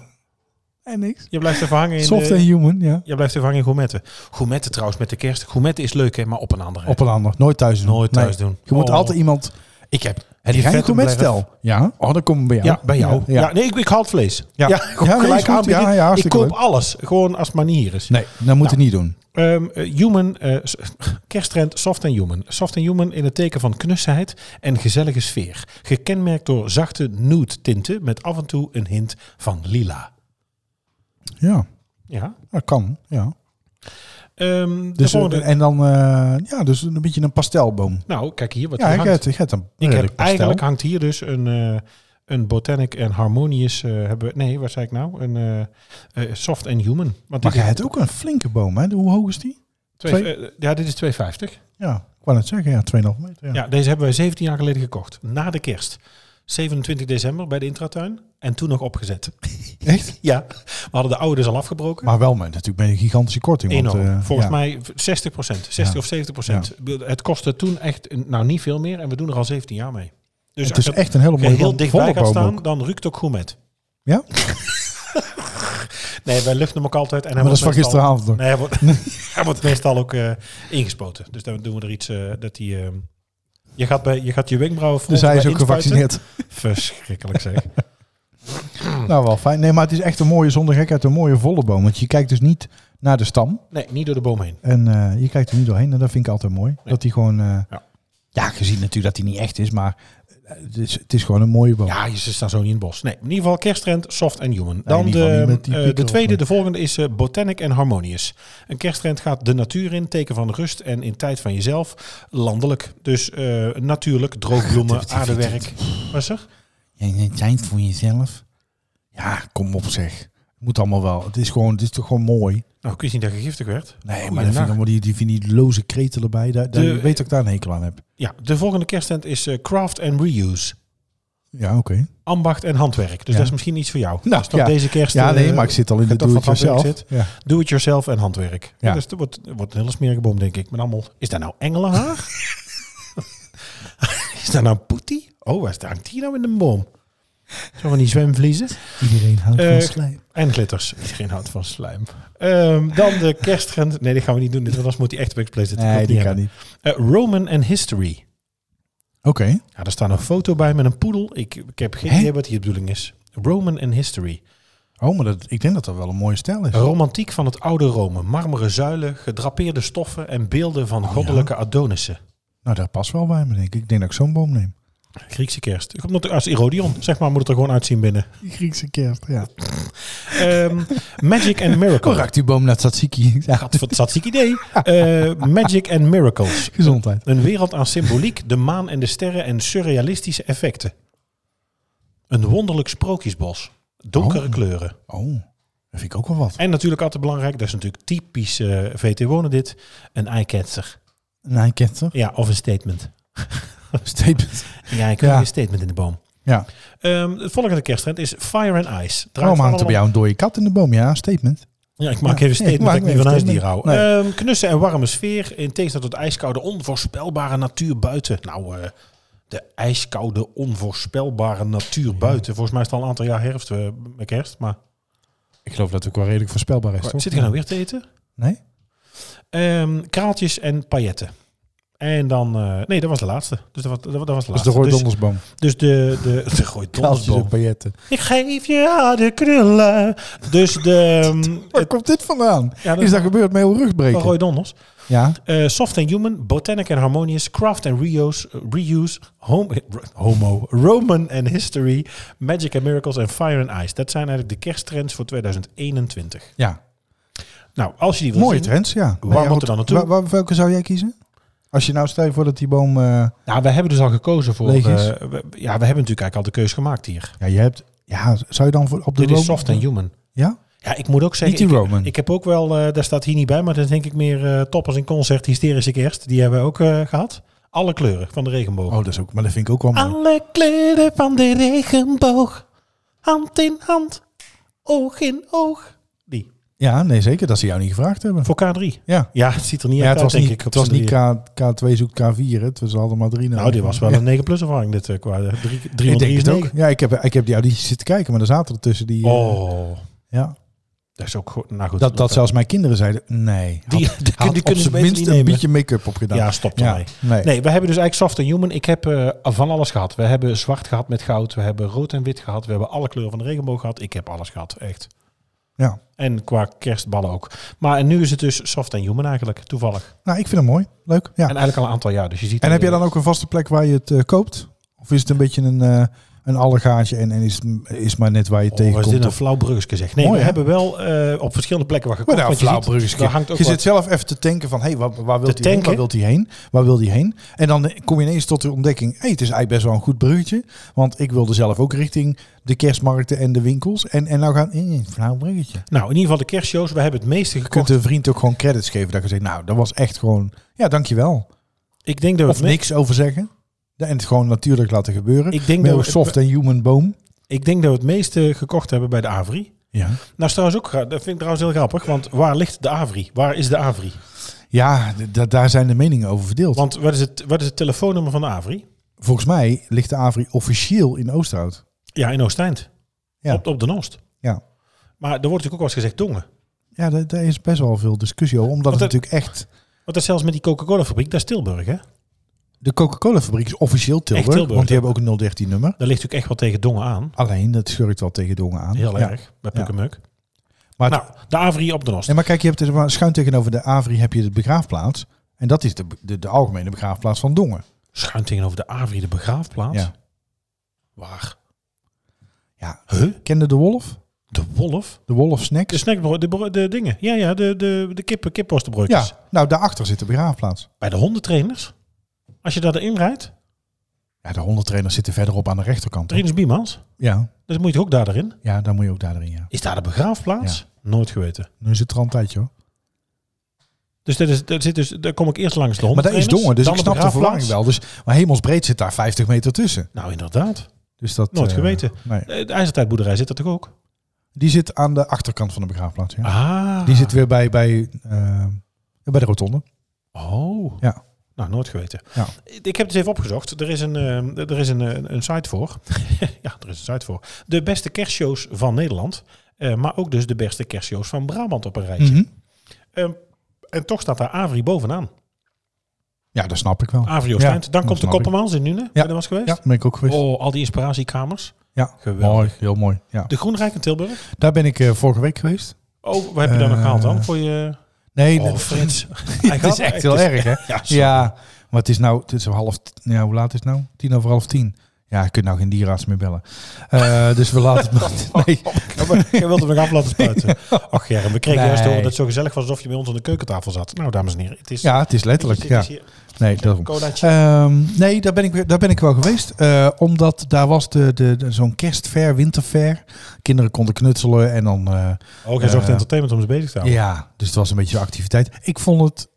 B: En niks.
C: Je blijft even hangen in eh,
B: Soft
C: de-
B: en human, ja.
C: Je blijft even hangen in gourmetten. Gourmetten trouwens met de kerst. Gourmetten is leuk, hè, maar op een andere.
B: Op een ander. Nooit thuis doen.
C: Nooit thuis doen.
B: Je moet
C: Oh.
B: altijd iemand... Ik heb... Heb
C: Die
B: jij een
C: vetten
B: gourmetstel? Ja. Oh, dan kom ik bij jou.
C: ja, bij jou. Ja,
B: Ja.
C: nee, ik, ik haal het vlees.
B: Ja.
C: Ja,
B: Ja,
C: gewoon
B: nee, is
C: gelijk
B: goed.
C: aanbieden.
B: Ja, ja,
C: ik
B: hartstikke
C: koop
B: leuk.
C: alles, gewoon als het maar niet hier is.
B: Nee, dat moet je niet doen.
C: Ehm, eh, human, eh, s- kersttrend soft en human. Soft en human in het teken van knusheid en gezellige sfeer. Gekenmerkt door zachte nude tinten met af en toe een hint van lila.
B: Ja,
C: Ja.
B: dat kan. Ja.
C: Ehm, de
B: Dus, eh,
C: volgende-
B: en dan... eh, ja, dus een beetje een pastelboom.
C: nou, kijk hier wat
B: Ja,
C: hier
B: ik
C: hangt.
B: heb, ik heb een
C: Ik
B: redelijk
C: heb,
B: pastel.
C: eigenlijk hangt hier dus een, eh, een botanic en harmonious... eh, hebben, we- nee, wat zei ik nou? Een eh, eh, soft en human. Want
B: Maar
C: dit
B: jij
C: is
B: hebt ook een flinke boom, hè? Hoe hoog is die?
C: twee, eh, ja, dit is 2,50.
B: Ja, ik wou net zeggen. Ja, 2,5 meter. Ja.
C: Ja, deze hebben wij 17 jaar geleden gekocht. Na de kerst. 27 december bij de intratuin. En toen nog opgezet.
B: Echt?
C: Ja, we hadden de oude dus al afgebroken.
B: Maar wel met natuurlijk met een gigantische korting. want,
C: Enorm.
B: eh,
C: Volgens
B: ja.
C: mij 60 60
B: Ja.
C: of 70 Ik bedoel, Het kostte toen echt eh, nou niet veel meer. En we doen er al 17 jaar mee. Dus
B: Het is
C: als je
B: echt een hele mooie
C: heel
B: boom.
C: dichtbij
B: Volle
C: gaat
B: boom ook.
C: staan, dan ruikt ook goed met.
B: Ja?
C: Nee, wij luchten hem ook altijd. En hij
B: Maar dat is van
C: wordt meestal-
B: gisteravond nog.
C: Nee, hij wordt, hij wordt meestal ook eh, ingespoten. Dus dan doen we er iets eh, dat hij... eh, je, gaat bij, je gaat je wenkbrauwen
B: Dus hij is ook gevaccineerd.
C: Verschrikkelijk zeg. Hmm.
B: Nou, wel fijn. Nee, maar het is echt een mooie, zonder gekheid, een mooie volle boom. Want je kijkt dus niet naar de stam.
C: Nee, niet door de boom heen.
B: En eh, je kijkt er niet doorheen. En dat vind ik altijd mooi. Dat die gewoon... eh,
C: Ja.
B: ja. gezien natuurlijk dat hij niet echt is. Maar eh, het is, het is gewoon een mooie boom.
C: Ja, ze staan zo niet in het bos. Nee, in ieder geval kersttrend, soft en human.
B: in
C: Dan
B: ieder geval
C: de,
B: niet met die
C: eh,
B: pieken
C: de
B: op,
C: tweede,
B: nee.
C: de volgende is eh, Botanic en Harmonious. Een kersttrend gaat de natuur in, teken van rust en in tijd van jezelf, landelijk. Dus eh, natuurlijk, droogbloemen, aardewerk. Was er?
B: En het zijn voor jezelf. Ja, kom op zeg. Het moet allemaal wel. Het is, gewoon, het is toch gewoon mooi.
C: Nou, ik wist niet dat je giftig werd.
B: Nee, maar
C: Goeienacht.
B: dan vind ik allemaal die, die, vind die loze kreten erbij. Daar, daar,
C: De-
B: je weet dat ik daar een hekel aan heb.
C: Ja, de volgende kersttrend is eh, craft and reuse.
B: Ja, oké.
C: Ambacht en handwerk.
B: Ja.
C: Dus dat is misschien iets voor jou.
B: Nou,
C: Dus dan
B: ja.
C: deze kerst.
B: Ja, nee,
C: eh,
B: maar ik zit al in de
C: dat wat
B: doe-it-yourself.
C: handwerk
B: Ja.
C: Do it yourself en handwerk. Ja.
B: Ja.
C: dus dat wordt, wordt een hele smerige boom, denk ik. Met allemaal, is dat nou engelenhaar? is dat nou poetie? Oh, waar hangt die nou in de boom? Zo van die zwemvliezen.
B: Iedereen houdt
C: Eh,
B: van slijm.
C: En glitters. Iedereen houdt van slijm. Ehm, dan de kerstgrens. Nee, dit gaan we niet doen. Dit, want anders moet die echt op X-Play zitten.
B: Nee,
C: Dat wil
B: die
C: ik
B: kan
C: niet
B: niet.
C: hebben. Eh, Roman and History.
B: Oké.
C: Ja, daar staat een foto bij met een poedel. Ik, ik heb geen
B: Hè?
C: idee wat hier de bedoeling is. Roman in History.
B: Oh, maar dat, ik denk dat dat wel een mooie stijl is.
C: Romantiek van het oude Rome. Marmeren zuilen, gedrapeerde stoffen en beelden
B: Oh,
C: van goddelijke Adonissen.
B: Nou, daar past wel bij me, denk ik. Ik denk dat ik zo'n boom neem.
C: Griekse kerst. Ik heb nog als Erodion, zeg maar, moet het er gewoon uitzien binnen.
B: Die Griekse kerst, ja.
C: Ehm, Magic and
B: Hoe
C: Miracles.
B: raakt die boom naar Tsatsiki? Ja,
C: Gadver- Dat ziek idee. Eh, Magic and Miracles.
B: gezondheid.
C: Een wereld aan symboliek, de maan en de sterren en surrealistische effecten. Een wonderlijk sprookjesbos. Donkere
B: Oh.
C: kleuren.
B: Oh, dat vind ik ook wel wat.
C: En natuurlijk altijd belangrijk, dat is natuurlijk typisch eh, VT Wonen dit, een eye-catcher.
B: Een eikenter.
C: Ja, of een statement.
B: Statement.
C: Ja, ik heb
B: Ja.
C: een statement in de boom.
B: Ja.
C: Ehm, de volgende kersttrend is Fire and Ice. Draait
B: Waarom
C: van
B: hangt er bij
C: allemaal-
B: jou een dode kat in de boom? Ja, statement.
C: Ja, ik maak
B: Oh, Ja,
C: even een
B: nee,
C: statement
B: maak
C: dat ik
B: maar
C: niet van
B: even
C: huisdieren hou.
B: statement.
C: Ehm, knussen en warme sfeer in tegenstelling tot ijskoude onvoorspelbare natuur buiten. Nou, eh, de ijskoude onvoorspelbare natuur buiten. Volgens mij is het al een aantal jaar herfst eh, met kerst, maar...
B: Ik geloof dat het ook wel redelijk voorspelbaar is,
C: Zit ik nou weer te eten?
B: Nee?
C: Ehm, kraaltjes en pailletten. En dan... eh, nee, dat was de laatste. Dus dat was, dat, was- dat was de
B: Dat is
C: laatste.
B: de rode
C: dus,
B: dondersboom.
C: dus de, de, de gooi
B: Kaaltjes
C: dondersboom.
B: en pailletten.
C: Ik geef je aan de krullen. Dus de... ehm,
B: Waar komt dit vandaan?
C: ja, dat
B: Is dat gebeurd met heel
C: van
B: rugbreken?
C: Roy Donders.
B: Ja.
C: Eh, Soft and Human, Botanic and Harmonious, Craft and Reuse, reuse hom- eh, ro- Homo, Roman and History, Magic and Miracles en Fire and Ice. Dat zijn eigenlijk de kersttrends voor 2021.
B: ja.
C: Nou, als je die wil
B: Mooie
C: zien-
B: trends, ja.
C: Waar moet er dan naartoe?
B: Waar, waar- welke zou jij kiezen? Als je nou stel je voor dat die boom... eh,
C: Nou, we hebben dus al gekozen voor...
B: Leeg
C: eh,
B: is.
C: we- ja, we hebben natuurlijk eigenlijk al de keuze gemaakt hier.
B: ja, je hebt... Ja, zou je dan voor, op de
C: Dit is
B: boom-
C: Soft and Human.
B: Ja?
C: Ja, ik moet ook zeggen...
B: Niet die
C: ik-
B: Roman.
C: Ik, heb ook wel... eh, daar staat hier niet bij, maar dat denk ik meer eh, toppers in concert, hysterische kerst. Die hebben we ook eh, gehad. Alle kleuren van de regenboog.
B: Oh, dat is ook... Maar dat vind ik ook wel mooi.
C: Alle kleuren van de regenboog. Hand in hand. Oog in oog. Die.
B: Ja, nee, zeker. Dat ze jou niet gevraagd hebben.
C: Voor K3.
B: Ja.
C: Ja, het ziet er niet
B: Ja,
C: uit,
B: het was
C: denk
B: niet,
C: ik. op
B: het was
C: z'n
B: niet
C: drieën.
B: K, K2 zoekt K4. hè. Het was allemaal maar 3.
C: Nou, dit was wel een 9 plus ervaring dit eh, qua eh, drie- drie
B: Ik
C: van
B: denk
C: drie is
B: het ook.
C: negen.
B: Ja, ik heb, ik heb die audities zitten kijken, maar er zaten er tussen die... eh,
C: Oh,
B: ja.
C: dat is ook goed. Nou goed.
B: Dat, dat zelfs mijn kinderen zeiden, nee.
C: Die,
B: had,
C: die, die
B: had op
C: kunnen ze
B: zijn
C: beter
B: minst
C: niet
B: een
C: nemen.
B: beetje make-up op gedaan.
C: Ja, stop
B: Ja,
C: ermee.
B: nee.
C: Nee, we hebben dus eigenlijk soft en human. Ik heb eh, van alles gehad. We hebben zwart gehad met goud. We hebben rood en wit gehad. We hebben alle kleuren van de regenboog gehad. Ik heb alles gehad, echt.
B: Ja.
C: En qua kerstballen ook. Maar en nu is het dus soft en human eigenlijk, toevallig.
B: Nou, ik vind hem mooi. Leuk. Ja. En,
C: En eigenlijk al een aantal jaar. Dus je ziet
B: heb jij dan ook een vaste plek waar je het eh, koopt? Of is het een beetje een, eh een allegaatje en, en is, is maar net waar je tegenkomt?
C: tegenkomt? Oh, dit een
B: Of,
C: flauw bruggetje gezegd? Nee,
B: Mooi,
C: we
B: hè?
C: hebben wel eh, op verschillende plekken waar
B: maar
C: gekocht.
B: nou,
C: want je
B: flauw
C: ziet, daar hangt
B: bruggetje.
C: ook
B: Je
C: wat.
B: zit zelf even te tanken van, hé, hey, waar, waar wil
C: Te
B: hij heen? Waar
C: tanken?
B: wil hij heen? Waar wil die heen? En dan kom je ineens tot de ontdekking, hé, hey, het is eigenlijk best wel een goed bruggetje. Want ik wilde zelf ook richting de kerstmarkten en de winkels. En, en nou gaan, eh, flauw bruggetje.
C: Nou, in ieder geval de kerstshows. We hebben het meeste
B: Je kunt
C: gekocht.
B: een vriend ook gewoon credits geven. Dat je zegt, nou, dat was echt gewoon... Ja, dankjewel.
C: Ik denk dat we
B: Of
C: het me-
B: niks over zeggen. Ja, En het gewoon natuurlijk laten gebeuren.
C: Ik denk
B: Met
C: dat
B: een
C: we-
B: soft en human boom.
C: Ik denk dat we het meeste gekocht hebben bij de Avri.
B: Ja.
C: Nou, is trouwens ook, gra- dat vind ik trouwens heel grappig. Want waar ligt de Avri? Waar is de Avri?
B: Ja, d- d- daar zijn de meningen over verdeeld.
C: Want wat is het, wat is het telefoonnummer van de Avri?
B: Volgens mij ligt de Avri officieel in Oosterhout.
C: Ja, in Oost-Eind.
B: Ja.
C: Op, op de Oost.
B: Ja.
C: Maar er wordt natuurlijk ook wel eens gezegd Dongen.
B: Ja, daar, daar is best wel veel discussie over. Omdat
C: Want
B: het
C: het-
B: natuurlijk echt...
C: Want dat is zelfs met die Coca-Cola-fabriek, dat is Tilburg, hè?
B: De Coca-Cola-fabriek is officieel Tilburg.
C: Tilburg,
B: want die
C: ja.
B: hebben ook een 013-nummer.
C: Daar ligt natuurlijk echt wel tegen Dongen aan.
B: Alleen, dat schurkt wel tegen Dongen aan.
C: Heel
B: Ja.
C: erg, bij
B: Ja.
C: Pukemuk.
B: Maar, het-
C: Nou, de Avri op de Nost.
B: nee, maar kijk, je hebt er maar schuin tegenover de Avri heb je de begraafplaats. En dat is de, de, de algemene begraafplaats van Dongen.
C: Schuin tegenover de Avri, de begraafplaats.
B: Ja.
C: Waar?
B: Ja.
C: Huh?
B: Kende de wolf?
C: De wolf?
B: De wolf snacks?
C: De snackbrood, de, bro- de dingen. Ja, ja, de, de, de kippen, kippostenbroodjes.
B: ja, nou daarachter zit de begraafplaats.
C: Bij de hondentrainers. Als je daarin rijdt,
B: Ja, de hondentrainers zitten verderop aan de rechterkant.
C: trainers Biemans.
B: Ja,
C: Dus moet je toch ook daar erin.
B: ja, dan moet je ook daarin, ja.
C: Is daar de begraafplaats? Nooit geweten.
B: Nu is het er al een tijdje, hoor.
C: Dus dat is, dat zit dus, daar kom ik eerst langs de
B: Maar dat is
C: hondentrainers.
B: Dongen, dus
C: dan
B: ik snap de
C: begraafplaats.
B: verwarring wel. Dus, maar hemelsbreed zit daar 50 meter tussen.
C: Nou, inderdaad.
B: Dus dat,
C: Nooit
B: eh,
C: geweten.
B: Nee.
C: Eh, De IJzertijdboerderij zit dat toch ook?
B: Die zit aan de achterkant van de begraafplaats, ja.
C: Ah.
B: Die zit weer bij, bij, eh, bij de rotonde.
C: Oh.
B: Ja.
C: Nou, nooit geweten.
B: Ja.
C: Ik heb het even opgezocht. Er is een, eh, er is een, eh, een site voor. ja, er is een site voor. De beste kerstshows van Nederland. eh, maar ook dus de beste kerstshows
B: Mm.
C: van Brabant op een rijtje.
B: Mhm.
C: Eh, en toch staat daar Avri bovenaan.
B: Ja, dat snap ik wel.
C: Avrio
B: Ja,
C: Stijnt. Dan
B: dat
C: komt de
B: snap ik.
C: Koppermans in Nune, waar je was geweest.
B: Ja, ben ik ook geweest.
C: Oh, al die inspiratiekamers.
B: ja,
C: geweldig.
B: mooi. Heel mooi. Ja.
C: De Groenrijk in Tilburg.
B: Daar ben ik eh, vorige week geweest.
C: Oh, wat heb je daar nog
B: Eh,
C: gehaald dan? Voor je...
B: Nee,
C: Oh,
B: dat-
C: Frits.
B: het is echt heel erg, hè?
C: dus Ja, sorry.
B: Ja, maar het is nou, het is om half, t- ja, hoe laat is het nou? Tien over half tien. Ja, je kunt nou geen dierenarts meer bellen. Eh, dus we laten het maar. Nee.
C: Ja, maar Je wilt hem nog af laten spuiten. Ach Germ, we kregen
B: Nee.
C: juist te horen dat het zo gezellig was alsof je bij ons aan de keukentafel zat. Nou, dames en heren, het is...
B: Ja, het is letterlijk.
C: het is
B: Ja.
C: hier-
B: Nee, daarom.
C: Colaatje.
B: Ehm, nee, daar ben ik, daar ben ik wel geweest. Eh, omdat daar was de, de, de- zo'n kerstfair, winterfair. Kinderen konden knutselen en dan... eh,
C: Ook hij zocht
B: eh,
C: Oh, entertainment om ze bezig te houden.
B: Ja, dus het was een beetje zo'n activiteit. Ik vond het,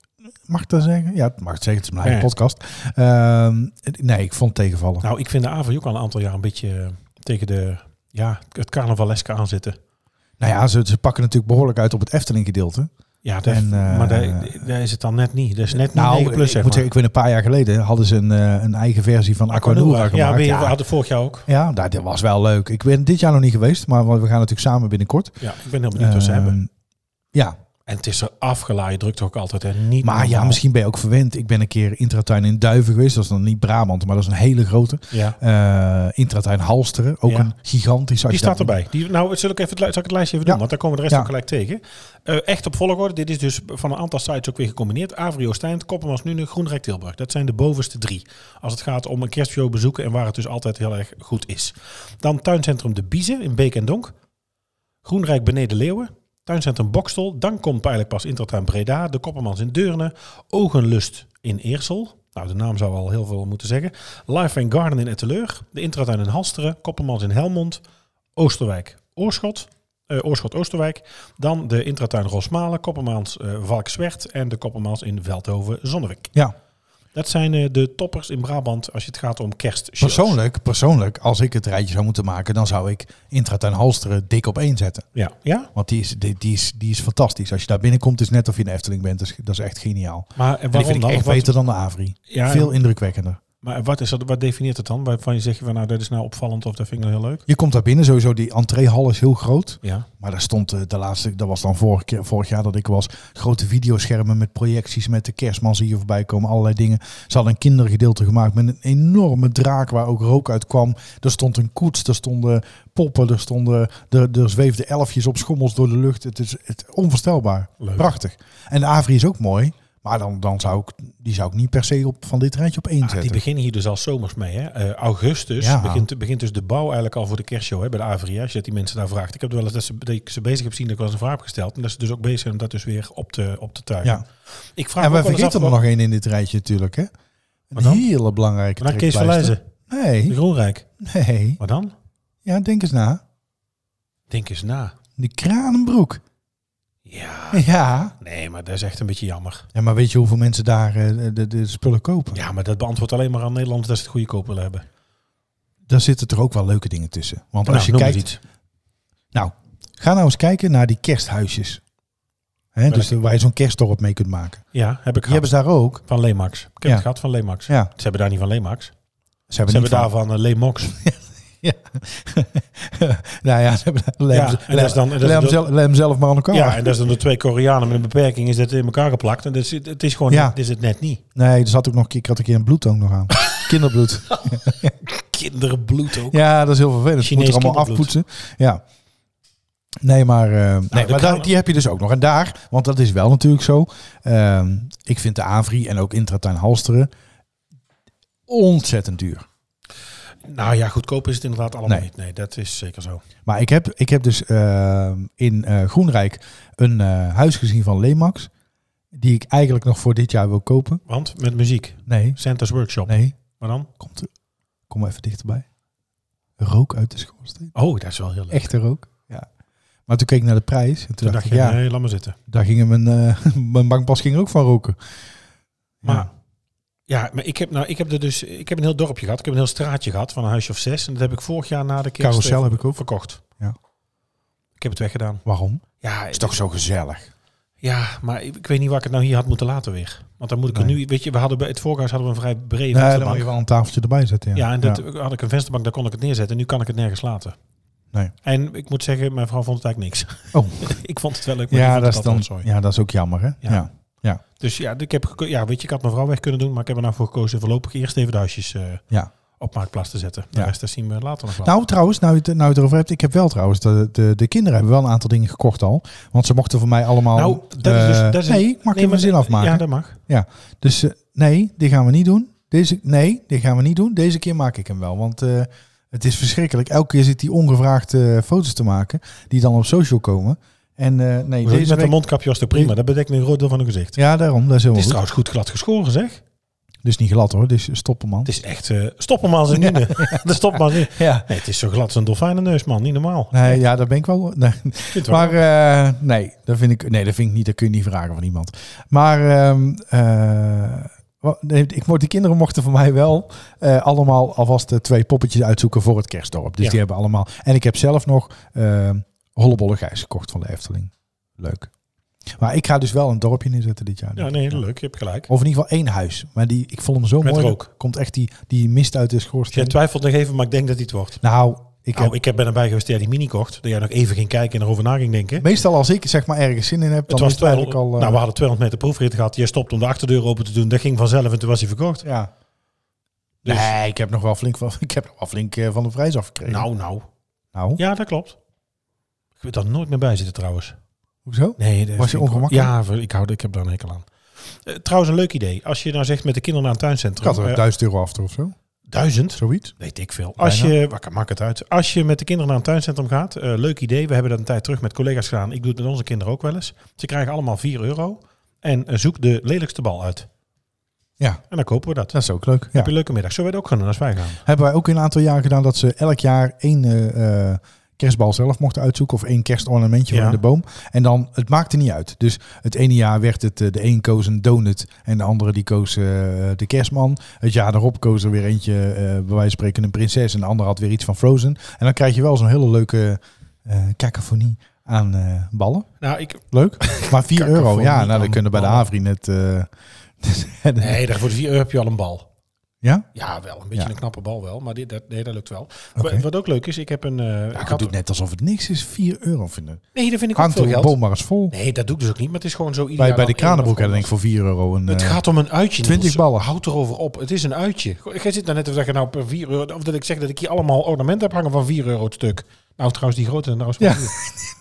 B: mag ik dat zeggen? Ja, het mag het zeggen, het is mijn eigen
C: Ja.
B: podcast. Ehm, nee, ik vond het tegenvallen.
C: Nou, ik vind de AVO ook al een aantal jaar een beetje eh, tegen de, ja, het carnavaleske aanzitten.
B: Nou ja, ze, ze pakken natuurlijk behoorlijk uit op het Efteling gedeelte.
C: Ja, daar-
B: En, eh,
C: maar daar, daar is het dan net niet. Dat is net niet
B: Nou,
C: 9 plus,
B: ik moet
C: zeg maar.
B: zeggen, ik weet een paar jaar geleden hadden ze een, eh, een eigen versie van Aquanura
C: Aquanura.
B: gemaakt.
C: Ja, we we
B: ja.
C: hadden vorig jaar ook.
B: Ja, nou, dat dat was wel leuk. Ik ben dit jaar nog niet geweest, maar we gaan natuurlijk samen binnenkort.
C: Ja, ik ben heel benieuwd wat ze
B: Ehm,
C: hebben.
B: Ja,
C: En het is er afgeladen druk toch ook altijd. Hè? Niet
B: maar ja,
C: normaal.
B: misschien ben je ook verwend. Ik ben een keer Intratuin in Duiven geweest. Dat is dan niet Brabant, maar dat is een hele grote.
C: Ja.
B: eh Intratuin Halsteren, ook
C: Ja.
B: een gigantisch... als
C: Die
B: je
C: staat
B: dat-
C: erbij. Die, nou, zal ik, even, het li- zal ik het lijstje even
B: Ja.
C: doen, want daar komen we de rest
B: Ja.
C: ook gelijk tegen. Eh, echt op volgorde. Dit is dus van een aantal sites ook weer gecombineerd. Avrio Stijn, Koppenmans Nune, Groenrijk Tilburg. Dat zijn de bovenste drie. Als het gaat om een kerstshow bezoeken en waar het dus altijd heel erg goed is. Dan tuincentrum De Biezen in Beek en Donk. Groenrijk Beneden Leeuwen. Tuincentrum Bokstel. Dan komt pijnlijk pas Intertuin Breda. De Koppermans in Deurne. Ogenlust in Eersel. Nou, de naam zou al heel veel moeten zeggen. Life and Garden in Etteleur. De Intratuin in Halsteren. Koppermans in Helmond. Oosterwijk Oorschot. eh, Oorschot Oosterwijk. Dan de Intratuin Rosmalen. Koppermans eh Valkswert. En de Koppermans in Veldhoven Zonnewijk.
B: Ja,
C: Dat zijn eh, de toppers in Brabant als je het gaat om kerst.
B: persoonlijk, persoonlijk, als ik het rijtje zou moeten maken, dan zou ik Intratuin Halsteren dik op één zetten.
C: Ja. ja?
B: Want die is, die, die is, die is fantastisch. Als je daar binnenkomt, is het net of je in de Efteling bent. Dat is, dat is echt geniaal.
C: Maar eh,
B: En die
C: waarom
B: vind ik
C: dan?
B: echt
C: Wat-
B: beter dan de Avri.
C: Ja,
B: Veel indrukwekkender.
C: Maar wat, is dat, wat definieert het dan? Waarvan je zegt van nou, dat is nou opvallend of dat vind ik nou heel leuk.
B: Je komt daar binnen, sowieso die entreehal is heel groot.
C: Ja.
B: Maar daar stond eh, de laatste, dat was dan vorige keer, vorig jaar dat ik was, grote videoschermen met projecties met de kerstman zie je voorbij komen, allerlei dingen. Ze hadden een kindergedeelte gemaakt met een enorme draak waar ook rook uit kwam. Er stond een koets, er stonden poppen, er, stonden, er, er zweefden elfjes op schommels door de lucht. Het is het, onvoorstelbaar.
C: Leuk.
B: Prachtig. En de Avri is ook mooi, maar dan, dan zou ik, die zou ik niet per se op, van dit rijtje op één
C: die
B: zetten.
C: beginnen hier dus al zomers mee. Hè? Eh, augustus
B: Ja.
C: begint, begint dus de bouw eigenlijk al voor de kerstshow hè, bij de Avria. Als je dat die mensen daar vraagt. Ik heb wel eens dat, ze, dat ik ze bezig heb zien dat ik wel eens een vraag heb gesteld. En dat ze dus ook bezig zijn om dat dus weer op te, op te tuigen.
B: ja.
C: Ik vraag
B: En
C: me
B: we
C: ook wel eens af
B: vergeten er
C: wat-
B: nog één in dit rijtje natuurlijk. Hè? Een
C: Wat dan?
B: hele belangrijke
C: Maar dan Kees
B: trekpleister.
C: Verlijzen, de
B: Nee,
C: Groenrijk.
B: nee.
C: Maar dan?
B: Ja, denk eens na.
C: Denk eens na.
B: Die kranenbroek.
C: Ja.
B: Ja.
C: Nee, maar dat is echt een beetje jammer.
B: ja, maar weet je hoeveel mensen daar eh, de, de spullen kopen?
C: Ja, maar dat beantwoordt alleen maar aan Nederland dat ze het goede koop willen hebben.
B: Daar zitten toch ook wel leuke dingen tussen. Want als
C: Nou, noem
B: je
C: eens
B: kijkt...
C: iets.
B: Nou, ga nou eens kijken naar die kersthuisjes. Hè, dus de- waar je zo'n kerstdorp mee kunt maken.
C: Ja, heb ik
B: Die
C: gehad
B: hebben ze daar ook.
C: van Lemax. Ik heb
B: Ja.
C: het gehad van Lemax.
B: Ja,
C: Ze hebben daar niet van Lemax.
B: ze hebben,
C: Ze
B: niet
C: hebben daarvan uh, Lemox.
B: van- Nou ja, ze hebben lem,
C: Ja, en dat is dan- dat is dan-
B: zelf, lem zelf maar aan elkaar.
C: Ja, en dat is dan de twee Koreanen met een beperking is dat in elkaar geplakt. En dat is, het is gewoon,
B: Ja.
C: het is het net niet.
B: Nee, er zat ook nog, ik had een keer een bloedtoon nog aan. Kinderbloed.
C: Kinderenbloed ook.
B: Ja, dat is heel vervelend. Je moet er
C: Chinees
B: allemaal afpoetsen.
C: kinderbloed.
B: Ja. Nee, maar, eh, nee,
C: de
B: maar daar-
C: kranen.
B: die heb je dus ook nog. En daar, want dat is wel natuurlijk zo. ehm, ik vind de Avri en ook Intratuin Halsteren ontzettend duur.
C: Nou ja, goedkoop is het inderdaad allemaal
B: Nee.
C: niet. Nee, dat is zeker zo.
B: Maar ik heb, ik heb dus ehm, in eh, Groenrijk een eh, huis gezien van Lemax. Die ik eigenlijk nog voor dit jaar wil kopen.
C: Want met muziek.
B: Nee,
C: Santa's Workshop.
B: nee.
C: Maar dan?
B: Komt, kom even dichterbij. Rook uit de schoorsteen.
C: Oh, dat is wel heel leuk.
B: Echte rook. Ja. Maar toen keek ik naar de prijs. En toen,
C: Toen
B: dacht
C: dacht
B: ik,
C: je,
B: ja,
C: nee, laat maar zitten.
B: Daar ging mijn, eh, mijn bankpas ging er ook van roken.
C: Maar
B: Ja.
C: ja. maar ik heb, nou, ik, heb er dus, ik heb een heel dorpje gehad. Ik heb een heel straatje gehad van een huisje of zes. En dat heb ik vorig jaar na de kerst
B: Carousel
C: eh,
B: heb ik ook.
C: verkocht.
B: Ja.
C: Ik heb het weggedaan.
B: Waarom?
C: Ja,
B: Is toch zo gezellig.
C: Ja, maar ik, ik weet niet waar ik het nou hier had moeten laten weer. Want dan moet ik
B: Nee.
C: er nu... Weet je, we hadden bij het voorgaans hadden we een vrij brede
B: Nee, dan
C: vensterbank.
B: moet je wel een tafeltje erbij zetten. Ja,
C: Ja, en dat had ik een vensterbank, daar kon ik het neerzetten. En nu kan ik het nergens laten.
B: Nee.
C: En ik moet zeggen, mijn vrouw vond het eigenlijk niks.
B: Oh.
C: ik vond het wel leuk, maar die
B: ja
C: vond
B: dat is
C: het altijd
B: dan,
C: wel zooi.
B: ja, dat is ook jammer, hè? Ja.
C: Ja.
B: Ja.
C: Dus ja, ik, heb, geko- ja, weet je, ik had mijn vrouw weg kunnen doen, maar ik heb er nou voor gekozen voorlopig eerst even de huisjes eh,
B: Ja.
C: op marktplaats te zetten. De
B: Ja.
C: rest dat zien we later nog wel.
B: Nou, trouwens, nou je, het, nou je het erover hebt, ik heb wel trouwens, de, de, de kinderen hebben wel een aantal dingen gekocht al. Want ze mochten voor mij allemaal...
C: Nou, dat is dus-
B: eh,
C: dat is-
B: nee, mag ik
C: maar-
B: even zin afmaken?
C: Ja, dat mag.
B: Dus eh, nee, die gaan we niet doen. Deze, nee, die gaan we niet doen. Deze keer maak ik hem wel. Want eh, het is verschrikkelijk. Elke keer zit hij ongevraagd eh, foto's te maken. Die dan op social komen. En eh, nee,
C: Deze
B: deze
C: Met een
B: week...
C: mondkapje was het prima. Dat bedekt een groot deel van het gezicht.
B: Ja, daarom. Dat is
C: Het
B: helemaal
C: is
B: goed.
C: trouwens goed glad geschoren, zeg.
B: Dus niet glad hoor. Dus stoppen man.
C: Het is echt... eh stop hem maar eens in. De stop maar eens in.
B: Ja.
C: Nee, het is zo glad als een dolfijnenneus, man. Niet normaal.
B: Nee, ja, daar ben ik wel... Nee.
C: Vindt wel.
B: Maar eh, nee, dat vind ik, nee, dat vind ik niet. Dat kun je niet vragen van iemand. Maar ehm, eh, wa- nee, ik, mo- die kinderen mochten voor mij wel eh, allemaal alvast eh, twee poppetjes uitzoeken voor het kerstdorp. Dus
C: Ja.
B: die hebben allemaal. En ik heb zelf nog ehm hollebolle gijs gekocht van de Efteling. Leuk. Maar ik ga dus wel een dorpje neerzetten dit jaar.
C: ja, nee, leuk. Je hebt gelijk.
B: Of in ieder geval één huis. Maar die, ik vond hem zo
C: Met
B: mooi.
C: rook.
B: Er Komt echt die, die mist uit de
C: Dus jij
B: schoorsteen.
C: twijfelt nog even, maar ik denk dat hij het wordt.
B: Nou, ik heb
C: nou, ik heb ben erbij geweest dat jij die mini kocht. Dat jij nog even ging kijken en erover na ging denken.
B: meestal als ik zeg maar ergens zin in heb,
C: Het
B: dan
C: was
B: is het eigenlijk al.
C: 200,
B: eh,
C: nou, we hadden 200 meter proefrit gehad. Jij stopt om de achterdeur open te doen. Dat ging vanzelf en toen was hij verkocht.
B: ja.
C: Dus-
B: Nee, ik heb nog wel flink van, ik heb nog wel flink eh, van de prijs afgekregen.
C: Nou, nou.
B: nou
C: Ja, dat klopt. Ik weet daar nooit meer bij zitten trouwens.
B: hoezo?
C: Nee, dat
B: Was je
C: vind ik-
B: ongemakkelijk?
C: Ja, ver- ik, hou, ik heb daar een hekel aan. Eh, trouwens, een leuk idee. Als je nou zegt met de kinderen naar een
B: Ik
C: tuincentrum.
B: had er
C: eh,
B: 1000 euro af of zo.
C: duizend?
B: Zoiets.
C: Weet ik veel. Als
B: Bijna.
C: je, wat maakt het uit? Als je met de kinderen naar een tuincentrum gaat, eh, leuk idee. We hebben dat een tijd terug met collega's gedaan. Ik doe het met onze kinderen ook wel eens. Ze krijgen allemaal 4 euro. En eh, zoek de lelijkste bal uit.
B: Ja,
C: En dan kopen we dat.
B: dat is ook leuk. Ja.
C: Heb je een leuke middag. Zo wij het ook gaan doen als wij gaan.
B: Hebben wij ook een aantal jaar gedaan dat ze elk jaar één eh, eh, kerstbal zelf mochten uitzoeken. Of één kerstornamentje
C: Ja.
B: van in de boom. En dan, het maakte niet uit. Dus het ene jaar werd het, eh, de een koos een donut en de andere die koos eh, de kerstman. Het jaar daarop koos er weer eentje, eh, bij wijze van spreken een prinses. En de ander had weer iets van Frozen. En dan krijg je wel zo'n hele leuke eh cacophonie aan eh, ballen.
C: Nou, ik,
B: Leuk. Maar 4 euro,
C: Cacophonie
B: ja, nou,
C: aan
B: dan kunnen bij de
C: ballen.
B: Avri net... eh,
C: nee, daar voor de 4 euro heb je al een bal.
B: Ja?
C: Ja, wel. Een beetje
B: Ja.
C: een knappe bal wel. Maar dit, dat, nee, dat lukt wel.
B: Oké.
C: Wat- Wat ook leuk is, ik heb een... eh, ik
B: Ik
C: had-
B: doe net alsof het niks is. 4 euro vinden.
C: nee, dat vind ik ook
B: Hangt
C: veel
B: de
C: geld.
B: boom maar eens vol.
C: Nee, dat doe ik dus ook niet. Maar het is gewoon zo ideaal.
B: Bij, bij de kranenbroek hadden denk ik voor 4 euro een...
C: Het
B: eh,
C: gaat om een uitje.
B: 20
C: Niels.
B: ballen.
C: Houd erover op. Het is een uitje. Goh, Jij zit daar net of dat je nou per 4 euro. Of dat ik zeg dat ik hier allemaal ornamenten heb hangen van 4 euro het stuk. Nou, trouwens, die grote. Nou, is maar
B: Ja.
C: duur.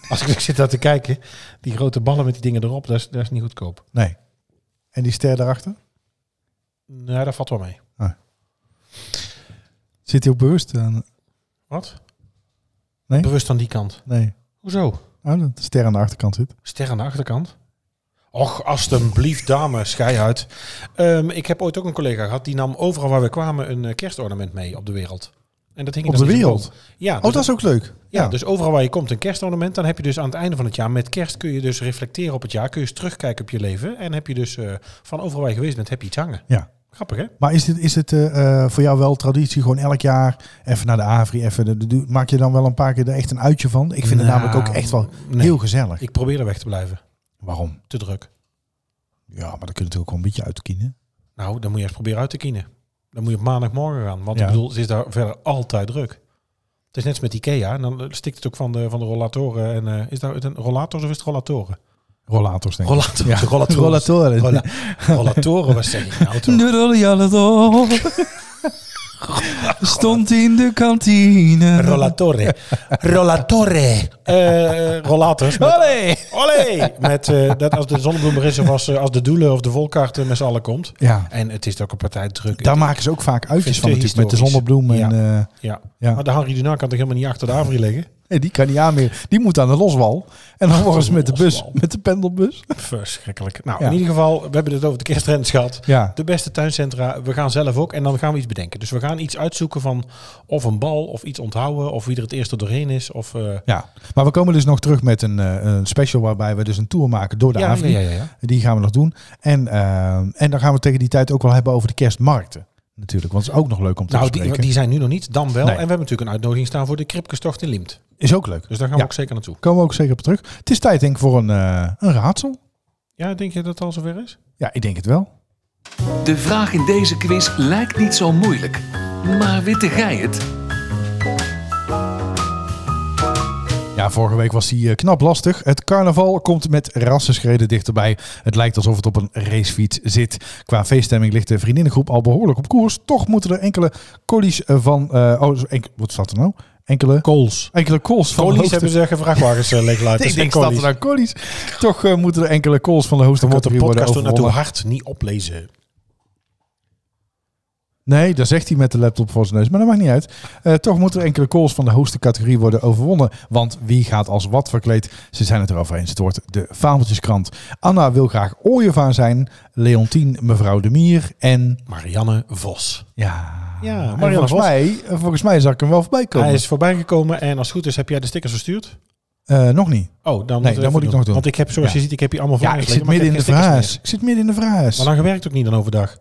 C: Als ik, ik zit daar te kijken, die grote ballen met die dingen erop, dat is, dat is niet goedkoop.
B: Nee. En die ster daarachter?
C: Nou, dat valt wel mee.
B: Zit hij ook bewust Eh, aan?
C: Wat?
B: Nee?
C: Bewust aan die kant.
B: Nee.
C: Hoezo?
B: Oh, dat de ster aan de achterkant zit.
C: Ster aan de achterkant. Och, alstublieft, dame, schei uit. Ehm, ik heb ooit ook een collega gehad, die nam overal waar we kwamen een eh, kerstornament mee op de wereld. En dat hing
B: Op
C: dan
B: de
C: in zijn
B: wereld?
C: boom. Ja, dus
B: Oh, dat is ook leuk.
C: Ja,
B: Ja.
C: dus overal waar je komt een kerstornament, dan heb je dus aan het einde van het jaar met kerst kun je dus reflecteren op het jaar, kun je eens terugkijken op je leven en heb je dus eh, van overal waar je geweest bent, heb je iets hangen.
B: Ja.
C: Grappig hè?
B: Maar is, dit, is het eh, eh, voor jou wel traditie, gewoon elk jaar even naar de Avri, even de- de- doe- maak je dan wel een paar keer er echt een uitje van? Ik vind het
C: Nou,
B: namelijk ook echt wel
C: nee.
B: heel gezellig.
C: Ik probeer er weg te blijven.
B: Waarom?
C: Te druk.
B: Ja, maar dan kun je natuurlijk ook wel een beetje uitkiezen.
C: Nou, dan moet je eens proberen uit te kiezen. Dan moet je op maandagmorgen gaan, want
B: Ja.
C: ik bedoel, het is daar verder altijd druk. Het is net als met Ikea en dan eh, stikt het ook van de, van de rollatoren. En, eh, is daar het een rollator of is het rollatoren?
B: Rollators denk ik.
C: Rollator,
B: Ja, rollatoren.
C: Rolla- rollatoren, wat zeg ik nou toch?
E: De rollator stond in de kantine.
C: Rollatore. Rollatore. Eh rollators. Met,
E: Allee!
C: Olé! Met, eh, dat als de zonnebloem er is of als, eh, als de doelen of de volkaart eh, met z'n allen komt.
B: Ja,
C: En het is ook een partij druk.
B: daar maken ze ook vaak uitjes
C: Vind
B: van
C: ik
B: natuurlijk, met de
C: historisch.
B: zonnebloem. En, eh,
C: ja.
B: ja.
C: Maar de Henri Dunant kan toch helemaal niet achter de Avri liggen?
B: nee, die kan niet aan meer. Die moet aan de loswal. En dan morgens met de bus,
C: Loswal.
B: met de pendelbus.
C: Verschrikkelijk. Nou,
B: Ja.
C: in ieder geval, we hebben het over de kerstrends gehad.
B: Ja,
C: De beste tuincentra, we gaan zelf ook en dan gaan we iets bedenken. Dus we gaan iets uitzoeken van of een bal of iets onthouden of wie er het eerste doorheen is. Of, eh,
B: Ja, maar we komen dus nog terug met een, eh, een special waarbij we dus een tour maken door de
C: ja,
B: Avri.
C: ja, ja, ja.
B: Die gaan we nog doen. En, ehm, en dan gaan we tegen die tijd ook wel hebben over de kerstmarkten. Natuurlijk, want het is ook nog leuk om te
C: Nou, die,
B: bespreken.
C: die zijn nu nog niet, dan wel.
B: Nee.
C: En we hebben natuurlijk een uitnodiging staan voor de Kripkestocht in Liemt.
B: Is ook leuk.
C: Dus daar gaan
B: Ja.
C: we ook zeker naartoe.
B: Komen we ook zeker op terug. Het is tijd denk ik voor een, eh, een raadsel.
C: Ja, denk je dat het al zover is?
B: Ja, ik denk het wel.
A: De vraag in deze quiz lijkt niet zo moeilijk. Maar witte gij het?
B: Ja, Ja, vorige week was die eh, knap lastig. Het carnaval komt met rassenschreden dichterbij. Het lijkt alsof het op een racefiets zit. Qua feeststemming ligt de vriendinnengroep al behoorlijk op koers. Toch moeten er enkele collies eh, van... eh, oh, enkel, wat staat er nou? Enkele,
C: Kools.
B: enkele calls van de
C: Kolies
B: hoogste-
C: hebben ze vrachtwagens eh, leeg laten.
B: Ik denk dat er nou collies. Toch eh, moeten er enkele calls van de hoogste
C: wordt de
B: categorie worden
C: podcast door naartoe
B: overwonnen.
C: hard niet oplezen.
B: Nee, daar zegt hij met de laptop voor zijn neus, maar dat maakt niet uit. Eh, toch moeten er enkele calls van de hoogste categorie worden overwonnen. Want wie gaat als wat verkleed? Ze zijn het erover eens. Het wordt de Fabeltjeskrant. Anna wil graag ooievaar zijn. Leontien, mevrouw de Mier. En
C: Marianne Vos.
B: ja,
C: Ja,
B: en
C: Marianne
B: volgens,
C: Vos.
B: mij, volgens mij zag ik hem wel voorbij komen.
C: Hij is voorbijgekomen en als het goed is heb jij de stickers verstuurd?
B: Eh, nog niet.
C: Oh, dan
B: Nee,
C: moet,
B: dat moet ik nog doen.
C: Want ik heb, zoals
B: Ja.
C: je ziet, ik heb hier allemaal
B: Ja,
C: vragen
B: ik
C: liggen,
B: zit
C: maar
B: midden in
C: heb
B: de
C: geen stickers
B: vraag. Ik zit midden in de vraag.
C: meer. Maar lang werkt ook niet dan overdag.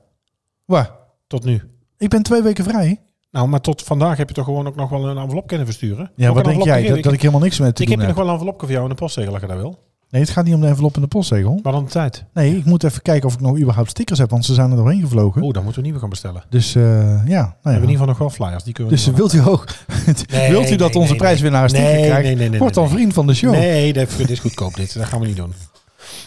B: Waar?
C: Tot nu.
B: Ik ben twee weken vrij.
C: Nou, maar tot vandaag heb je toch gewoon ook nog wel een envelop kunnen versturen?
B: Ja,
C: Ook
B: wat
C: een
B: denk
C: envelopje
B: jij?
C: geven.
B: Dat, dat ik helemaal niks met te
C: Ik
B: doen
C: heb je nog
B: heb.
C: wel een envelopje voor jou in de postzegel, als je dat wil.
B: Nee, het gaat niet om de envelop en de postzegel.
C: Maar dan de tijd.
B: Nee, ik moet even kijken of ik nog überhaupt stickers heb, want ze zijn er doorheen gevlogen.
C: Oeh, dan moeten we nieuwe gaan bestellen.
B: Dus eh, ja,
C: We
B: nou ja.
C: Oh. hebben in ieder geval nog wel flyers. Die kunnen we
B: Dus
C: nog wel-
B: wilt u hoog?
C: Nee,
B: wilt u dat
C: nee,
B: onze
C: nee,
B: prijswinnaar
C: nee.
B: sticker
C: Nee,
B: krijgt?
C: nee, nee, nee,
B: Word dan
C: nee.
B: vriend van de show.
C: Nee, dat, dit is goedkoop dit. Dat gaan we niet doen.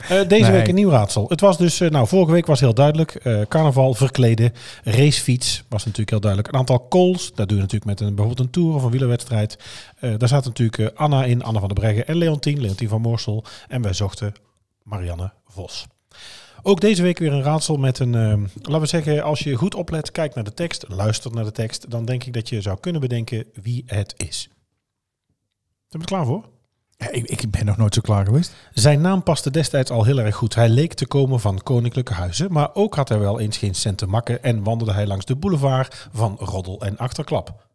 C: Eh, deze
B: Nee.
C: week een nieuw raadsel. Het was dus, eh, nou, vorige week was heel duidelijk. eh, carnaval, verkleden, racefiets was natuurlijk heel duidelijk. Een aantal calls, dat doe je natuurlijk met een, bijvoorbeeld een tour of een wielerwedstrijd. Eh, daar zaten natuurlijk eh, Anna in, Anna van der Breggen en Leontien, Leontien van Moorsel. En wij zochten Marianne Vos. Ook deze week weer een raadsel met een, ehm, laten we zeggen, als je goed oplet, kijkt naar de tekst, luistert naar de tekst, dan denk ik dat je zou kunnen bedenken wie het is. Ben je er klaar voor?
B: Ja, ik, ik ben nog nooit zo klaar geweest.
C: Zijn naam paste destijds al heel erg goed. Hij leek te komen van koninklijke huizen, maar ook had hij wel eens geen cent te makken en wandelde hij langs de boulevard van roddel en achterklap.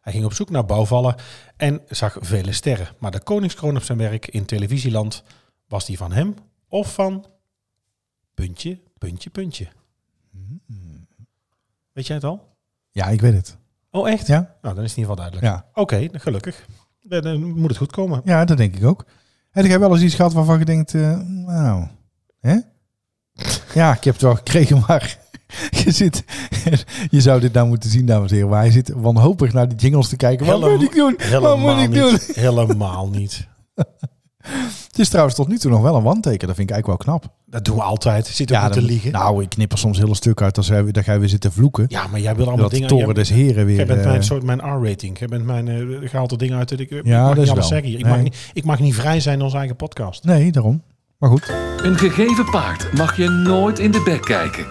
C: Hij ging op zoek naar bouwvallen en zag vele sterren, maar de koningskroon op zijn werk in televisieland was die van hem of van puntje, puntje, puntje. Weet jij het al?
B: Ja, ik weet het.
C: Oh echt?
B: Ja?
C: Nou, dan is het in ieder geval duidelijk.
B: Ja,
C: Oké, gelukkig. Dan, dan moet het goed komen.
B: ja dat denk ik ook. Heb jij wel eens iets gehad waarvan je denkt, eh, nou, hè? Ja, ik heb het wel gekregen, maar je zit, je zou dit nou moeten zien, dames en heren. Maar hij zit wanhopig naar die jingles te kijken. Wat
C: Helemaal-
B: moet ik doen? Wat moet
C: Helemaal
B: ik doen?
C: niet. Helemaal niet.
B: Het is trouwens tot nu toe nog wel een wanteken. Dat vind ik eigenlijk wel knap.
C: Dat doen we altijd. Zit ook niet te
B: dan-
C: liegen.
B: Nou, ik knip er soms heel een stuk uit als hij, dat hij weer zit te vloeken.
C: ja, maar jij wil allemaal
B: dat de
C: dingen...
B: toren
C: jij,
B: des heren weer...
C: jij bent
B: eh,
C: mijn, soort mijn R-rating. Jij bent mijn... eh, je haalt er dingen uit. dat Ik, ik
B: Ja,
C: mag
B: dat
C: niet
B: is
C: alles
B: wel.
C: zeggen hier. Ik,
B: Nee.
C: mag niet, ik mag niet vrij zijn in onze eigen podcast.
B: Nee, daarom. Maar goed.
A: Een gegeven paard mag je nooit in de bek kijken.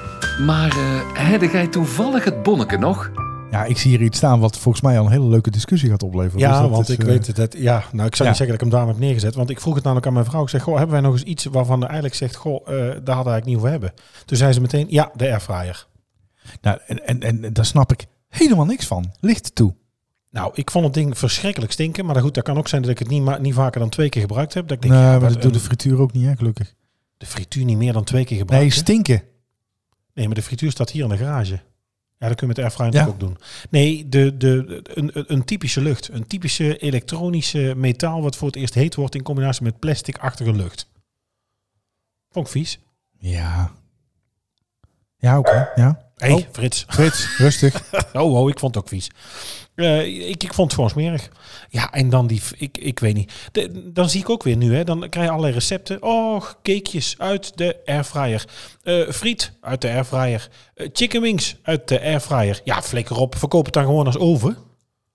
A: Maar eh heb jij toevallig het bonneke nog?
B: Ja, ik zie hier iets staan wat volgens mij al een hele leuke discussie gaat opleveren. Dus
C: Ja,
B: dat
C: want
B: is,
C: ik
B: eh,
C: weet het. Dat, ja, nou, ik zou
B: Ja.
C: niet zeggen dat ik hem daarom heb neergezet. Want ik vroeg het namelijk aan mijn vrouw. Ik zeg, goh, hebben wij nog eens iets waarvan hij eigenlijk zegt... Goh, eh, daar hadden we eigenlijk niet over hebben. Toen zei ze meteen, ja, de airfryer.
B: Nou, en, en, en, en daar snap ik helemaal niks van. Licht toe.
C: Nou, ik vond het ding verschrikkelijk stinken. Maar goed, dat kan ook zijn dat ik het niet, ma- niet vaker dan twee keer gebruikt heb. Dat ik denk,
B: nee,
C: ja,
B: Nou, maar
C: wat
B: dat doet de
C: een-
B: frituur ook niet, hè, gelukkig.
C: de frituur niet meer dan twee keer gebruikt.
B: Nee,
C: hè?
B: stinken.
C: Nee, maar de frituur staat hier in de garage. Ja, dat kun je met de airfryer
B: Ja.
C: natuurlijk ook doen. Nee, de, de, een, een- een typische lucht. Een typische elektronische metaal wat voor het eerst heet wordt in combinatie met plasticachtige lucht. Vond ik vies.
B: Ja. Ja, oké. Ja.
C: Hé,
B: Oh.
C: Frits.
B: Frits, rustig.
C: Oh, oh, ik vond het ook vies. Eh, ik, ik vond het gewoon smerig. Ja, en dan die... Ik, ik weet niet. De- dan zie ik ook weer nu, hè. Dan krijg je allerlei recepten. Oh, cakejes uit de airfryer. Eh, friet uit de airfryer. Eh, chicken wings uit de airfryer. Ja, flikker op. Verkoop het dan gewoon als oven.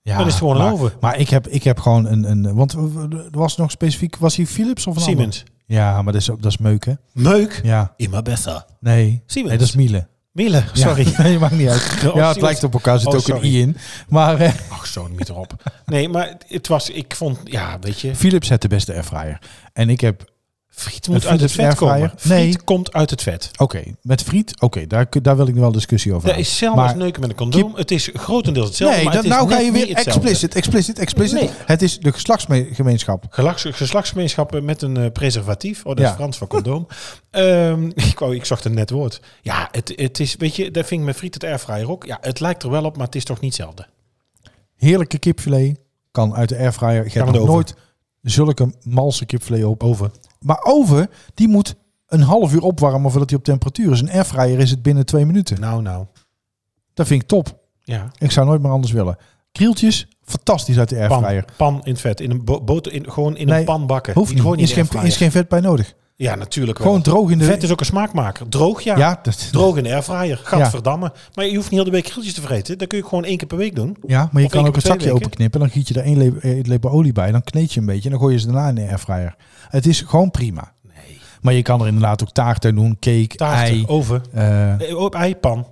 B: Ja,
C: Dan is het gewoon een
B: maar,
C: oven.
B: Maar ik heb, ik heb gewoon een, een... Want er was nog specifiek... Was hij Philips of een ander?
C: Siemens.
B: Ja, maar dat is, dat is meuk, hè?
C: Meuk.
B: Ja.
C: Immer besser.
B: Nee.
C: Siemens.
B: Nee, dat is Miele.
C: Mille, sorry.
B: Ja, nee, maakt niet uit.
C: Oh,
B: ja, het
C: Siemens.
B: lijkt op elkaar. Er zit
C: Oh,
B: ook een
C: sorry.
B: i in. Maar eh,
C: Ach, zo'n niet erop. Nee, maar het was, ik vond, ja, weet je,
B: Philips heeft de beste airfryer. En ik heb...
C: friet moet
B: Een
C: uit het
B: Philips
C: vet
B: airfryer?
C: komen. Friet
B: Nee.
C: komt uit het vet.
B: Oké, met friet. Oké, daar, kun- daar wil ik nu wel discussie over
C: Dat
B: hebben.
C: is zelfs
B: Nou, Maar-
C: neuken met een condoom. het is grotendeels hetzelfde.
B: nee,
C: maar
B: dat,
C: het is
B: nou ga
C: net
B: je
C: niet
B: weer
C: hetzelfde.
B: explicit, explicit, explicit.
C: Nee.
B: Het is de geslachtsgemeenschap.
C: Gelaks- Geslachtsgemeenschappen met een eh, preservatief. Oh, dat is
B: Ja.
C: Frans voor condoom. Ehm, ik, wou, ik zocht een net woord. Ja, het, het is, weet je, dat vind ik met friet het airfryer ook. Ja, het lijkt er wel op, maar het is toch niet hetzelfde.
B: Heerlijke kipfilet kan uit de airfryer. Je
C: Kan
B: hebt nog
C: in de
B: nooit zulke malse kipfilet op. Oven. Maar oven, die moet een half uur opwarmen voordat hij op temperatuur is. Een airfryer is het binnen twee minuten.
C: Nou, nou.
B: Dat vind ik top.
C: Ja.
B: Ik zou nooit meer anders willen. Krieltjes, fantastisch uit de
C: Pan,
B: airfryer.
C: pan in het vet. In een bo- boter, in, gewoon in
B: Nee,
C: een pan bakken.
B: Hoeft
C: Die
B: niet.
C: Gewoon in
B: Is
C: de
B: geen,
C: airfryer.
B: is geen vet bij nodig.
C: Ja, natuurlijk wel.
B: Gewoon droog in de...
C: Vet is ook een smaakmaker. Droog, ja.
B: Ja, dat,
C: Droog in de airfryer. Gadverdamme. Maar je hoeft niet heel de week grilltjes te vreten. Dat kun je gewoon één keer per week doen.
B: ja, maar je
C: Of
B: kan ook
C: één keer
B: het
C: per twee
B: zakje
C: weken.
B: openknippen. Dan giet je er één lepel, één lepel olie bij. Dan kneed je een beetje. En dan gooi je ze daarna in de airfryer. Het is gewoon prima. Maar je kan er inderdaad ook taart aan doen. Cake,
C: Taarten, Oh.
B: ei.
C: oven.
B: eh,
C: Nee, Op eipan.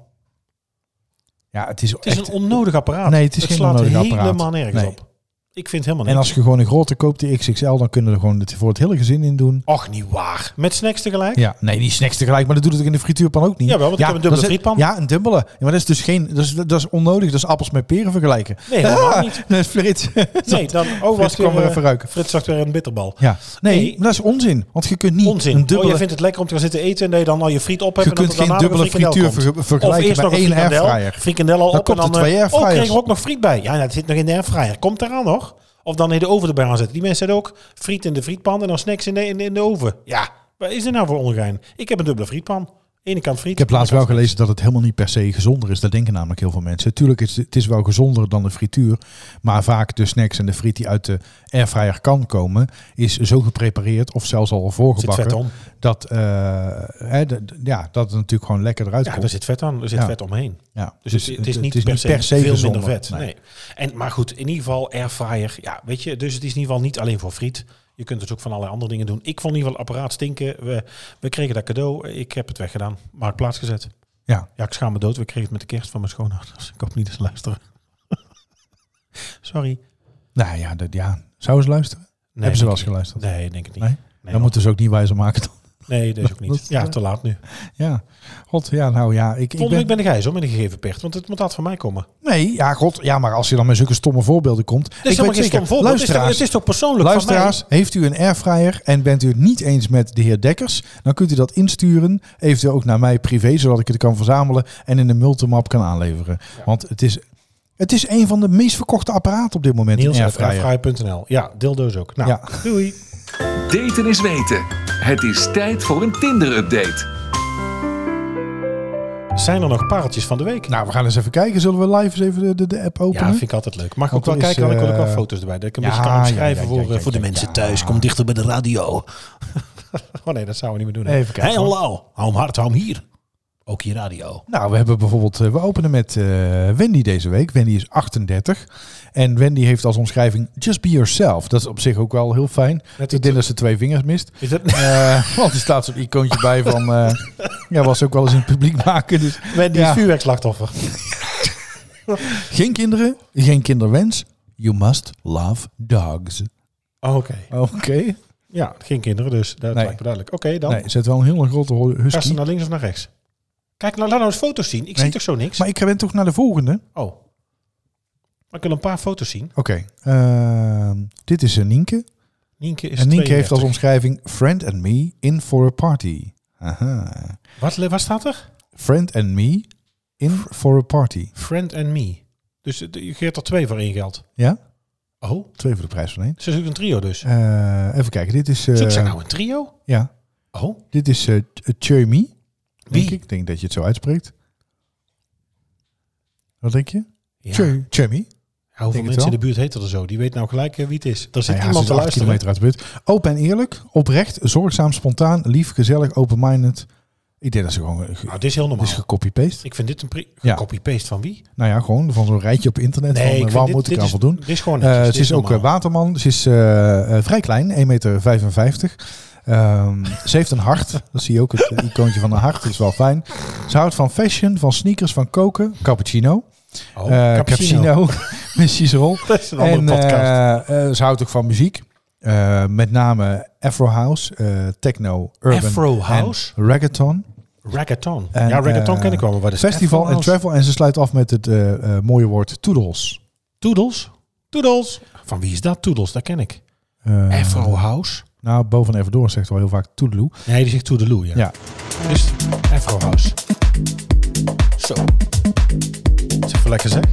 B: ja, het is,
C: Het is
B: echt...
C: een onnodig apparaat.
B: Nee, het is geen
C: slaat
B: onnodig
C: helemaal
B: apparaat.
C: nergens
B: Nee.
C: op. Ik vind het helemaal
B: En
C: niks.
B: als je gewoon een grote koopt, die XXL, dan kunnen we er gewoon het voor het hele gezin in doen.
C: Och, niet waar. Met snacks tegelijk?
B: Ja, nee, die snacks tegelijk, maar dat doet het ook in de frituurpan ook niet.
C: Jawel, want ik heb een dubbele
B: dat is-
C: frietpan.
B: Ja, een dubbele. Ja, maar dat is dus geen, dat is, dat is onnodig, dat is appels met peren vergelijken.
C: Nee, helemaal
B: Ah,
C: niet.
B: Dat is Frits.
C: Nee, dan oh, was
B: Frits
C: weer,
B: kwam er
C: eh,
B: even ruiken.
C: Frits zag weer een bitterbal.
B: Ja, nee,
C: Nee.
B: maar dat is onzin, want je kunt niet
C: Onzin.
B: een
C: Oh,
B: dubbele...
C: jij vindt het lekker om te gaan zitten eten en dat je dan al je friet op hebt.
B: je
C: en dat
B: kunt
C: er
B: geen
C: daarna nog
B: dubbele
C: een
B: frituur
C: frikandel komt.
B: ver-
C: Of
B: vergelijken
C: eerst
B: met
C: nog een
B: één
C: frikandel,
B: airfryer.
C: frikandel al
B: Dan
C: op en
B: komt
C: dan...
B: er twee
C: eh, oh,
B: airfryers.
C: kreeg er ook nog friet bij. Ja, dat zit nog in de airfryer. Komt eraan nog. Of dan in de oven erbij aan zetten. Die mensen zetten ook friet in de frietpan en dan snacks in de, in de, in de oven. Ja, wat is dit nou voor ongein? Ik heb een dubbele frietpan. Ene kant friet.
B: Ik heb laatst wel
C: andere kant
B: gelezen dat het helemaal niet per se gezonder is. Dat denken namelijk heel veel mensen. Tuurlijk is het is wel gezonder dan de frituur. Maar vaak de snacks en de friet die uit de airfryer kan komen, is zo geprepareerd of zelfs al
C: friet. Er zit vet
B: voorgebakken.
C: om.
B: Dat, eh, hè, de- de- ja, dat het natuurlijk gewoon lekker eruit
C: Ja,
B: komt.
C: daar zit vet aan. Er zit
B: Ja.
C: vet omheen.
B: Ja,
C: Dus, het, het is niet, per, se veel minder vet. Nee. En, maar goed, in ieder geval airfryer. Ja, weet je, dus het is in ieder geval niet alleen voor friet. Je kunt het ook van allerlei andere dingen doen. Ik vond in ieder geval het apparaat stinken. We, we kregen dat cadeau. Ik heb het weggedaan. Maar plaatsgezet.
B: Ja.
C: Ja, ik schaam me dood. We kregen het met de kerst van mijn schoonouders. Ik hoop niet eens luisteren. Sorry. Nee,
B: Nou ja, dat, ja. zou ze luisteren? Hebben ze
C: denk
B: wel eens
C: ik-
B: geluisterd?
C: Nee, denk ik niet.
B: Nee?
C: Nee,
B: dan moeten ze ook niet wijzer maken. dan.
C: nee dat is ook
B: Dat-
C: niet. Ja, te laat nu.
B: Ja, god, ja, nou ja. Ik, ik
C: Volgende
B: ben,
C: week ben ik hij zo met een gegeven pecht. Want het moet dat van mij komen.
B: Nee, ja, god, ja, maar als je dan met zulke stomme voorbeelden komt.
C: Het is
B: ik
C: helemaal
B: weet
C: geen
B: zeker,
C: stom voorbeeld. Het is toch-
B: Luisteraars,
C: Het is toch persoonlijk
B: Luisteraars, heeft u een airfryer en bent u het niet eens met de heer Dekkers, dan kunt u dat insturen, eventueel ook naar mij privé, zodat ik het kan verzamelen en in een multimap kan aanleveren. Want het is, het is een van de meest verkochte apparaten op dit
C: van
B: moment,
C: mij.
B: een
C: Niels
B: airfryer.
C: airfryer.nl. Ja, dildo's ook. Nou,
B: Ja.
C: doei.
A: Daten is weten. Het is tijd voor een Tinder-update.
C: Zijn er nog pareltjes van de week?
B: Nou, we gaan eens even kijken. Zullen we live eens even de, de, de app
C: ja,
B: openen?
C: vind ik altijd leuk. Mag ik
B: Want
C: ook wel
B: er is,
C: kijken, want ik wil ook
B: eh,
C: wel foto's erbij. Dat ik een
B: ja,
C: beetje kan
B: ja,
C: schrijven
B: ja,
C: voor,
B: ja,
C: eh,
B: ja,
C: voor de
B: ja,
C: mensen
B: ja.
C: thuis. Kom dichter bij de radio. oh nee, dat zouden we niet meer doen. hè?
B: Even kijken,
C: Hey, hallo. Hou hem hard, hou hem hier. Ook hier radio.
B: Nou, we hebben bijvoorbeeld, eh, we openen met eh, Wendy deze week. Wendy is 38 en Wendy heeft als omschrijving Just Be Yourself. Dat is op zich ook wel heel fijn.
C: Net
B: ik denk dat ze twee vingers mist.
C: Is dat
B: Eh, want er staat zo'n icoontje bij van... eh, ja, was ook wel eens in het publiek maken. Dus
C: Wendy
B: Ja.
C: is vuurwerkslachtoffer.
B: geen kinderen, geen kinderwens. You must love dogs.
C: Oh, Oké.
B: Oké.
C: Ja, geen kinderen dus. Dat
B: Nee.
C: lijkt me duidelijk. Oké, dan.
B: Nee, zet wel een hele grote ho-
C: Gaan ze
B: husky.
C: naar links of naar rechts? Kijk, nou, laat nou eens foto's zien. Ik
B: Nee.
C: zie toch zo niks?
B: Maar ik ben toch naar de volgende? Oké.
C: Oh. Maar ik wil een paar foto's zien.
B: ehm, dit is een Nienke.
C: Nienke is
B: en Nienke heeft als
C: 32.
B: omschrijving... Friend and me in for a party. Aha.
C: Wat, le- wat staat er?
B: Friend and me in for a party.
C: Friend and me. Dus eh, je geeft er twee voor één geld.
B: Ja?
C: Oh,
B: Twee voor de prijs van één.
C: ze zoekt een trio dus.
B: Eh, even kijken, dit is... eh,
C: Zoekt ze nou een trio?
B: Ja.
C: Oh,
B: Dit is eh Chumi.
C: Wie?
B: Denk ik denk dat je het zo uitspreekt. Wat denk je?
C: ja.
B: Chumi.
C: Ja, hoeveel
B: denk het
C: mensen in de buurt heten er zo? Die weet nou gelijk eh, wie het is. Daar zit
B: Nou ja,
C: iemand
B: ze
C: te
B: is acht
C: luisteren.
B: kilometer uit de buurt. Open en eerlijk, oprecht, zorgzaam, spontaan, lief, gezellig, open-minded. Ik denk dat ze gewoon... eh, ge-
C: Nou, dit is heel normaal.
B: is gecopy-paste.
C: ik vind dit een pri-
B: Ja.
C: copy-paste van wie?
B: Nou ja, gewoon van zo'n rijtje op internet.
C: ik
B: van,
C: vind
B: eh, waar
C: dit-
B: moet ik
C: dit
B: aan
C: is-
B: voldoen?
C: Dit is gewoon
B: Eh,
C: netjes.
B: ze
C: Dit
B: is ook eh,
C: normaal.
B: waterman. Ze is eh, eh, vrij klein, 1,55 meter. Ehm, ze heeft een hart. Dat zie je ook, het eh, icoontje van een hart. Dat is wel fijn. Ze houdt van fashion, van sneakers, van koken, cappuccino.
C: Oh,
B: eh
C: cappuccino.
B: cappuccino, met Cicerol.
C: Dat is een andere
B: en,
C: podcast.
B: eh, eh, ze houdt ook van muziek. Eh, met name Afro House, eh, Techno, Urban
C: Afro
B: en
C: House?
B: Reggaeton.
C: Reggaeton.
B: En,
C: ja, reggaeton
B: eh,
C: ken ik wel, maar wat is
B: Festival
C: Afro
B: en
C: House?
B: travel. En ze sluit af met het eh, eh, mooie woord toedels.
C: Toedels? Toedels. Van wie is dat? Toedels, dat ken ik.
B: Eh,
C: Afro House?
B: Nou, boven en even door zegt wel heel vaak toedeloe.
C: Nee, die zegt Toedeloe, ja.
B: Ja.
C: Dus Afro House. Zo. Zeg even lekker zeg.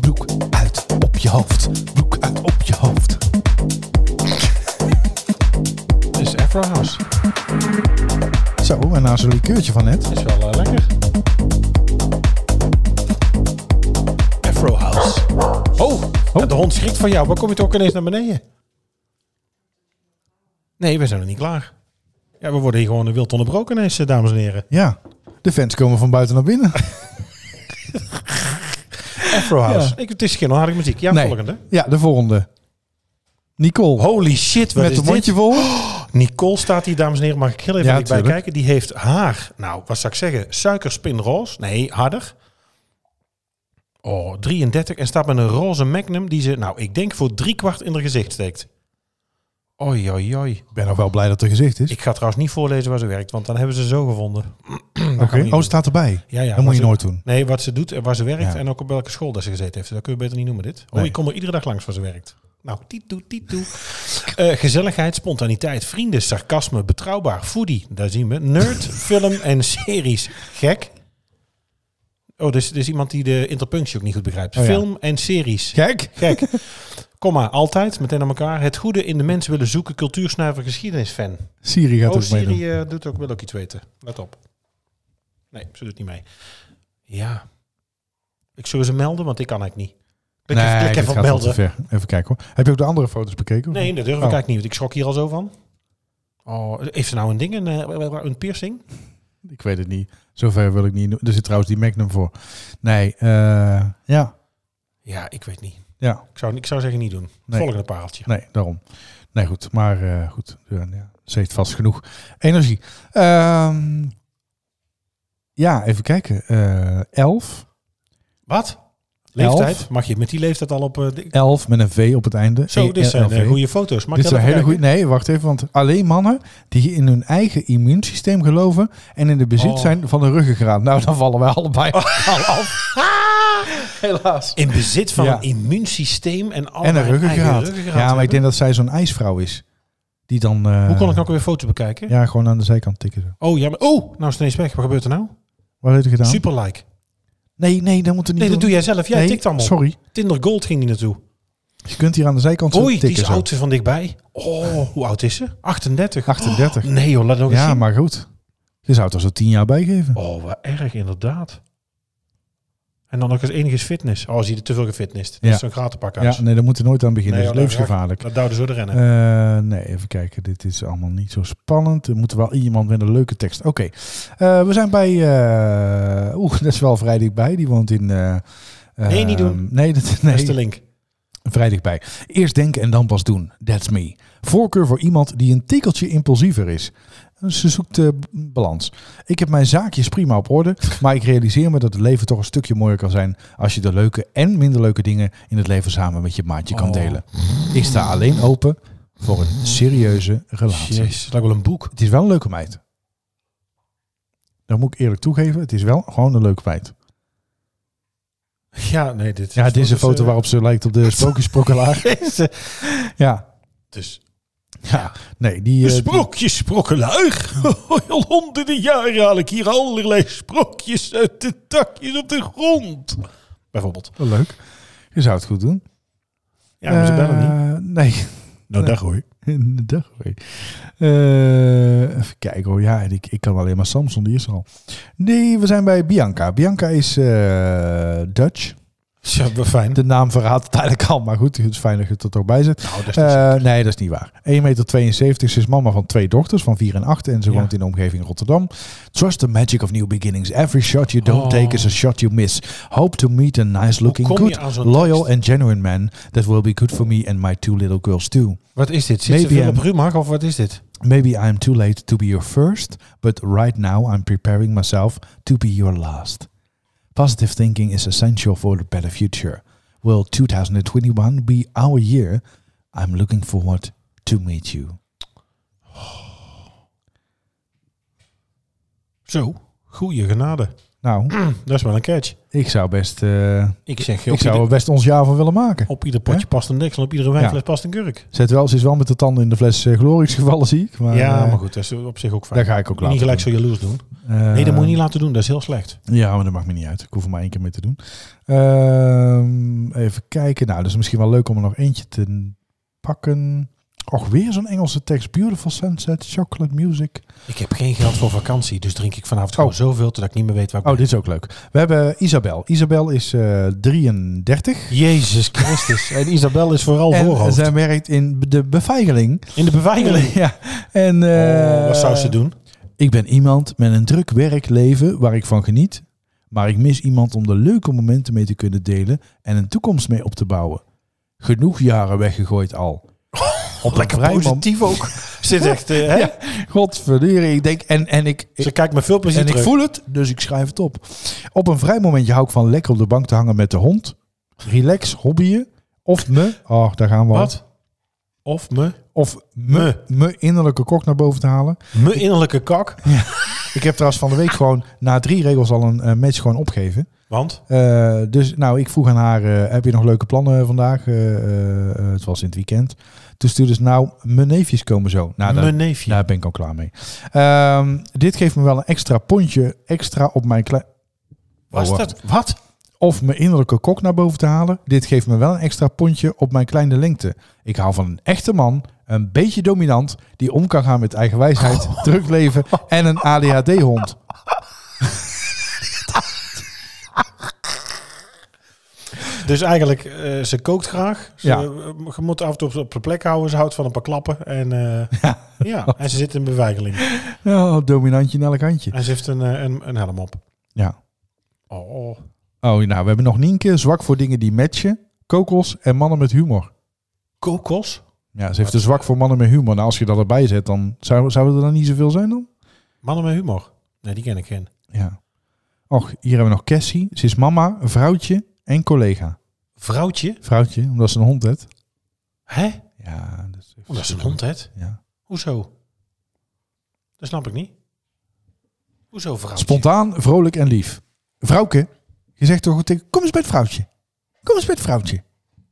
B: Broek uit op je hoofd. Broek uit op je hoofd.
C: Dit is Afro House.
B: Zo, en na zo'n likeurtje van net.
C: Is wel eh, lekker.
B: Oh.
C: Ja, Oh, de hond schrikt van jou. Waar kom je toch ook ineens naar beneden? Nee, we zijn nog niet klaar. Ja, we worden hier gewoon wild onderbroken ineens, eh, dames en heren.
B: Ja, de fans komen van buiten naar binnen.
C: Afro House. Ik, het is geen harde muziek. Ja,
B: Nee.
C: volgende.
B: Ja, de volgende. Nicole.
C: Holy shit, wat
B: met
C: is
B: een mondje
C: dit? Oh.
B: vol.
C: Nicole staat hier, dames en heren. Mag ik heel even
B: Ja,
C: bij
B: tuurlijk.
C: kijken? Die heeft haar, nou, wat zou ik zeggen? Suikerspin roze. Nee, harder. Oh, 33. En staat met een roze magnum die ze, nou, ik denk voor drie kwart in haar gezicht steekt. Oi, oi, oi.
B: Ik ben nog wel blij dat er gezicht is.
C: Ik ga trouwens niet voorlezen waar ze werkt, want dan hebben ze zo gevonden.
B: Oké. Oh, het staat erbij.
C: Ja, ja,
B: dat
C: wat
B: moet je
C: ze-
B: nooit doen.
C: Nee, wat ze doet en waar ze werkt
B: Ja.
C: en ook op welke school dat ze gezeten heeft. Dat kun je beter niet noemen dit. Oh,
B: Nee.
C: ik kom er iedere dag langs waar ze werkt. Nou, titoe, titoe. Eh gezelligheid, spontaniteit, vrienden, sarcasme, betrouwbaar, foodie, daar zien we. Nerd, film en series. Gek. Oh, dus, dus iemand die de interpunctie ook niet goed begrijpt.
B: Oh, ja.
C: Film en series.
B: Kijk.
C: Gek. Komma, altijd, meteen aan elkaar. Het goede in de mensen willen zoeken, cultuursnuiver, geschiedenisfan.
B: Siri gaat
C: Oh,
B: ook meedoen.
C: Siri eh, doet ook, wil ook iets weten. Let op. Nee, ze doet niet mee. Ja. Ik zou ze melden, want ik kan eigenlijk niet. Klik even, klik
B: dit
C: even op
B: gaat wel te
C: melden.
B: ver. Even kijken hoor. Heb je ook de andere foto's bekeken? of
C: Nee,
B: niet?
C: dat durf
B: Oh.
C: ik eigenlijk niet, want ik schrok hier al zo van. Oh, heeft ze nou een ding, een, eh, een piercing?
B: Ik weet het niet. Zover wil ik niet. doen. Er zit trouwens die Magnum voor. Nee, eh, ja.
C: Ja, ik weet niet.
B: Ja,
C: Ik zou, ik zou zeggen niet doen.
B: Nee.
C: Volgende pareltje.
B: nee, daarom. Nee, goed. Maar eh, goed, ja, ja. ze heeft vast genoeg energie. Ehm, ja, even kijken. Eh, elf.
C: Wat?
B: Elf.
C: Leeftijd? Mag je met die leeftijd al op... eh, de-
B: Elf met een V op het einde.
C: zo,
B: E-
C: dit zijn
B: LV.
C: eh, goede foto's. Mag
B: Dit
C: ik
B: is een hele
C: dat even
B: goede. Nee, wacht even. Want alleen mannen die in hun eigen immuunsysteem geloven. en in de bezit
C: Oh.
B: zijn van een ruggengraat. Nou, dan vallen wij allebei al af. Helaas.
C: kijken? In bezit van
B: Ja.
C: een immuunsysteem en al
B: en een
C: mijn eigen
B: ruggengraat.
C: ruggengraat
B: Ja, maar ik
C: hebben.
B: denk dat zij zo'n ijsvrouw is. Die dan. eh,
C: Hoe kon ik nou ook weer foto's bekijken?
B: Ja, gewoon aan de zijkant tikken. zo.
C: Oh, ja, maar, oh, nou is het ineens weg. Wat gebeurt er nou?
B: Wat heeft hij gedaan?
C: Super like.
B: Nee, nee, dat moeten we
C: Nee,
B: niet
C: dat doe jij zelf. Jij
B: Nee,
C: tikt allemaal.
B: Sorry.
C: Tinder Gold ging die naartoe.
B: Je kunt hier aan de zijkant zo
C: Oei,
B: tikken.
C: die is
B: zo.
C: oud van dichtbij. Oh, hoe oud is ze? 38.
B: 38.
C: Oh, nee joh, laat nog eens
B: ja,
C: zien.
B: maar goed. Je zou het al zo tien jaar bijgeven.
C: Oh, wat erg inderdaad. En dan nog eens enigszins fitness. Oh, zie je te veel gefitnest. Dat
B: Ja.
C: is zo'n gratenpakhuis.
B: ja, nee, daar moeten we nooit aan beginnen.
C: Nee,
B: dat is
C: joh, daar
B: levensgevaarlijk.
C: Dat duwde zo de rennen.
B: Eh, nee, even kijken. Dit is allemaal niet zo spannend. Er moet wel iemand met een leuke tekst. Oké. Eh, we zijn bij... eh Oeh, dat is wel vrij dichtbij. Die woont in... eh,
C: Nee, niet doen.
B: ehm, Nee, dat,
C: Dat is de
B: nee
C: link.
B: vrij dichtbij. Eerst denken en dan pas doen. That's me. Voorkeur voor iemand die een tikkeltje impulsiever is. Ze zoekt eh, b- balans. Ik heb mijn zaakjes prima op orde, maar ik realiseer me dat het leven toch een stukje mooier kan zijn als je de leuke en minder leuke dingen in het leven samen met je maatje kan
C: Oh.
B: delen. Ik sta alleen open voor een serieuze relatie.
C: Jezus, dat lijkt wel een boek.
B: Het is wel een leuke meid. Dat moet ik eerlijk toegeven. Het is wel gewoon een leuke meid.
C: Ja, nee, dit
B: Ja, dit is een
C: dus,
B: foto
C: eh,
B: waarop ze lijkt op de sprookjesprokkelaar.
C: Deze.
B: Ja,
C: Dus
B: ja. Nee, die...
C: De
B: eh, die-
C: sprookjes, sprokkelaar. Al Oh, honderden jaren haal ik hier allerlei sprookjes uit de takjes op de grond. Bijvoorbeeld.
B: Wel leuk. Je zou het goed doen.
C: Ja, maar ze bellen niet.
B: niet. Nee.
C: Nou, dag hoor.
B: Dag hoor. Eh, even kijken hoor. Ja, ik, ik kan alleen maar Samsung, die is er al. Nee, we zijn bij Bianca. Bianca is eh, Dutch.
C: Ja, wat fijn.
B: De naam verraadt het eigenlijk al, maar goed, het is fijn dat je het er toch bij zet.
C: Nou, dat is niet zo.
B: Eh, nee, dat is niet waar. 1,72 meter. Ze is mama van twee dochters van 4 en 8 en ze
C: Ja.
B: woont in de omgeving Rotterdam. Trust the magic of new beginnings. Every shot you don't
C: Oh.
B: take is a shot you miss. Hope to meet a nice looking,
C: kom je
B: good,
C: aan zo'n
B: loyal
C: tekst?
B: and genuine man that will be good for me and my two little girls too.
C: Wat is dit? Zit ze
B: Maybe
C: veel op
B: I'm-
C: Rumach of wat is dit?
B: Maybe I'm too late to be your first, but right now I'm preparing myself to be your last. Positive thinking is essential for the better future. Will 2021 be our year? I'm looking forward to meet you.
C: Zo, goeie genade.
B: Nou,
C: Dat is wel een catch.
B: ik zou best, eh,
C: Ik zeg je, op,
B: ik zou er
C: ieder,
B: best ons jaar van willen maken.
C: op ieder potje
B: Hè?
C: past een deksel, op iedere wijnfles past een kurk.
B: Zet wel, ze is wel met de tanden in de fles eh, glories gevallen, zie ik. Maar,
C: ja,
B: eh,
C: maar goed, dat is op zich ook fijn.
B: daar ga ik ook laten
C: niet gelijk
B: doen.
C: zo jaloers doen.
B: Eh,
C: Nee, dat moet je niet laten doen. Dat is heel slecht.
B: Ja, maar dat maakt me niet uit. Ik hoef er maar één keer mee te doen. Ehm, even kijken. Nou, dat is misschien wel leuk om er nog eentje te pakken. Och, weer zo'n Engelse tekst. Beautiful sunset, chocolate music.
C: Ik heb geen geld voor vakantie, dus drink ik vanavond gewoon
B: Oh.
C: zoveel dat ik niet meer weet waar ik
B: Oh,
C: ben.
B: dit is ook leuk. We hebben Isabel. Isabel is eh 33.
C: Jezus Christus. en Isabel is vooral
B: En
C: voorhoofd.
B: zij werkt in de beveiliging.
C: In de beveiliging.
B: ja. En, eh,
C: Oh, wat zou ze doen?
B: Ik ben iemand met een druk werkleven waar ik van geniet. Maar ik mis iemand om de leuke momenten mee te kunnen delen en een toekomst mee op te bouwen. Genoeg jaren weggegooid al. Op lekker
C: ook. Zit echt, eh, hè?
B: Godverdorie, ik denk en, en ik...
C: Ze kijkt met veel plezier
B: en ik
C: terug.
B: voel het, dus ik schrijf het op. Op een vrij momentje hou ik van lekker op de bank te hangen met de hond. Relax, hobbyen. Of me, oh daar gaan we al.
C: Wat? Of me.
B: Of me,
C: Me.
B: me innerlijke kok naar boven te halen.
C: Me innerlijke kak.
B: Ik heb trouwens van de
C: Ah.
B: week gewoon na drie regels al een eh, match gewoon opgeven.
C: Want?
B: Eh, dus nou, ik vroeg aan haar, eh, heb je nog leuke plannen vandaag? Eh, eh, eh, het was in het weekend. Toen stuurde ze, nou, mijn neefjes komen zo. Nou, daar,
C: Mijn neefje.
B: daar ben ik al klaar mee. Ehm, dit geeft me wel een extra pontje extra op mijn klei-
C: Was
B: Oh, wacht.
C: dat? Wat?
B: Of mijn innerlijke kok naar boven te halen. Dit geeft me wel een extra pontje op mijn kleine lengte. Ik hou van een echte man, een beetje dominant, die om kan gaan met eigen wijsheid, druk leven en een ADHD-hond.
C: Dus eigenlijk, eh, ze kookt graag. Ze,
B: Ja.
C: eh, je moet af en toe op, op de plek houden. Ze houdt van een paar klappen. En, eh,
B: Ja.
C: ja. en ze zit in bewegeling.
B: Ja, dominantje in elk handje.
C: En ze heeft een, eh, een, een helm op.
B: Ja.
C: Oh.
B: Oh, nou, we hebben nog Nienke. Zwak voor dingen die matchen. Kokos en mannen met humor.
C: Kokos?
B: Ja, ze heeft een zwak voor mannen met humor. Nou, als je dat erbij zet, dan zou, zou er dan niet zoveel zijn dan?
C: Mannen met humor. Nee, die ken ik geen.
B: Ja. Och, hier hebben we nog Cassie. Ze is mama, vrouwtje en collega.
C: Vrouwtje?
B: Vrouwtje, omdat ze een hond heeft.
C: Hè?
B: Ja, dat is,
C: Oh, dat is een hond, hè?
B: Ja.
C: Hoezo? Dat snap ik niet. Hoezo vrouwtje?
B: Spontaan, vrolijk en lief. Vrouwke, je zegt toch tegen... Kom eens bij het vrouwtje. Kom eens bij het vrouwtje.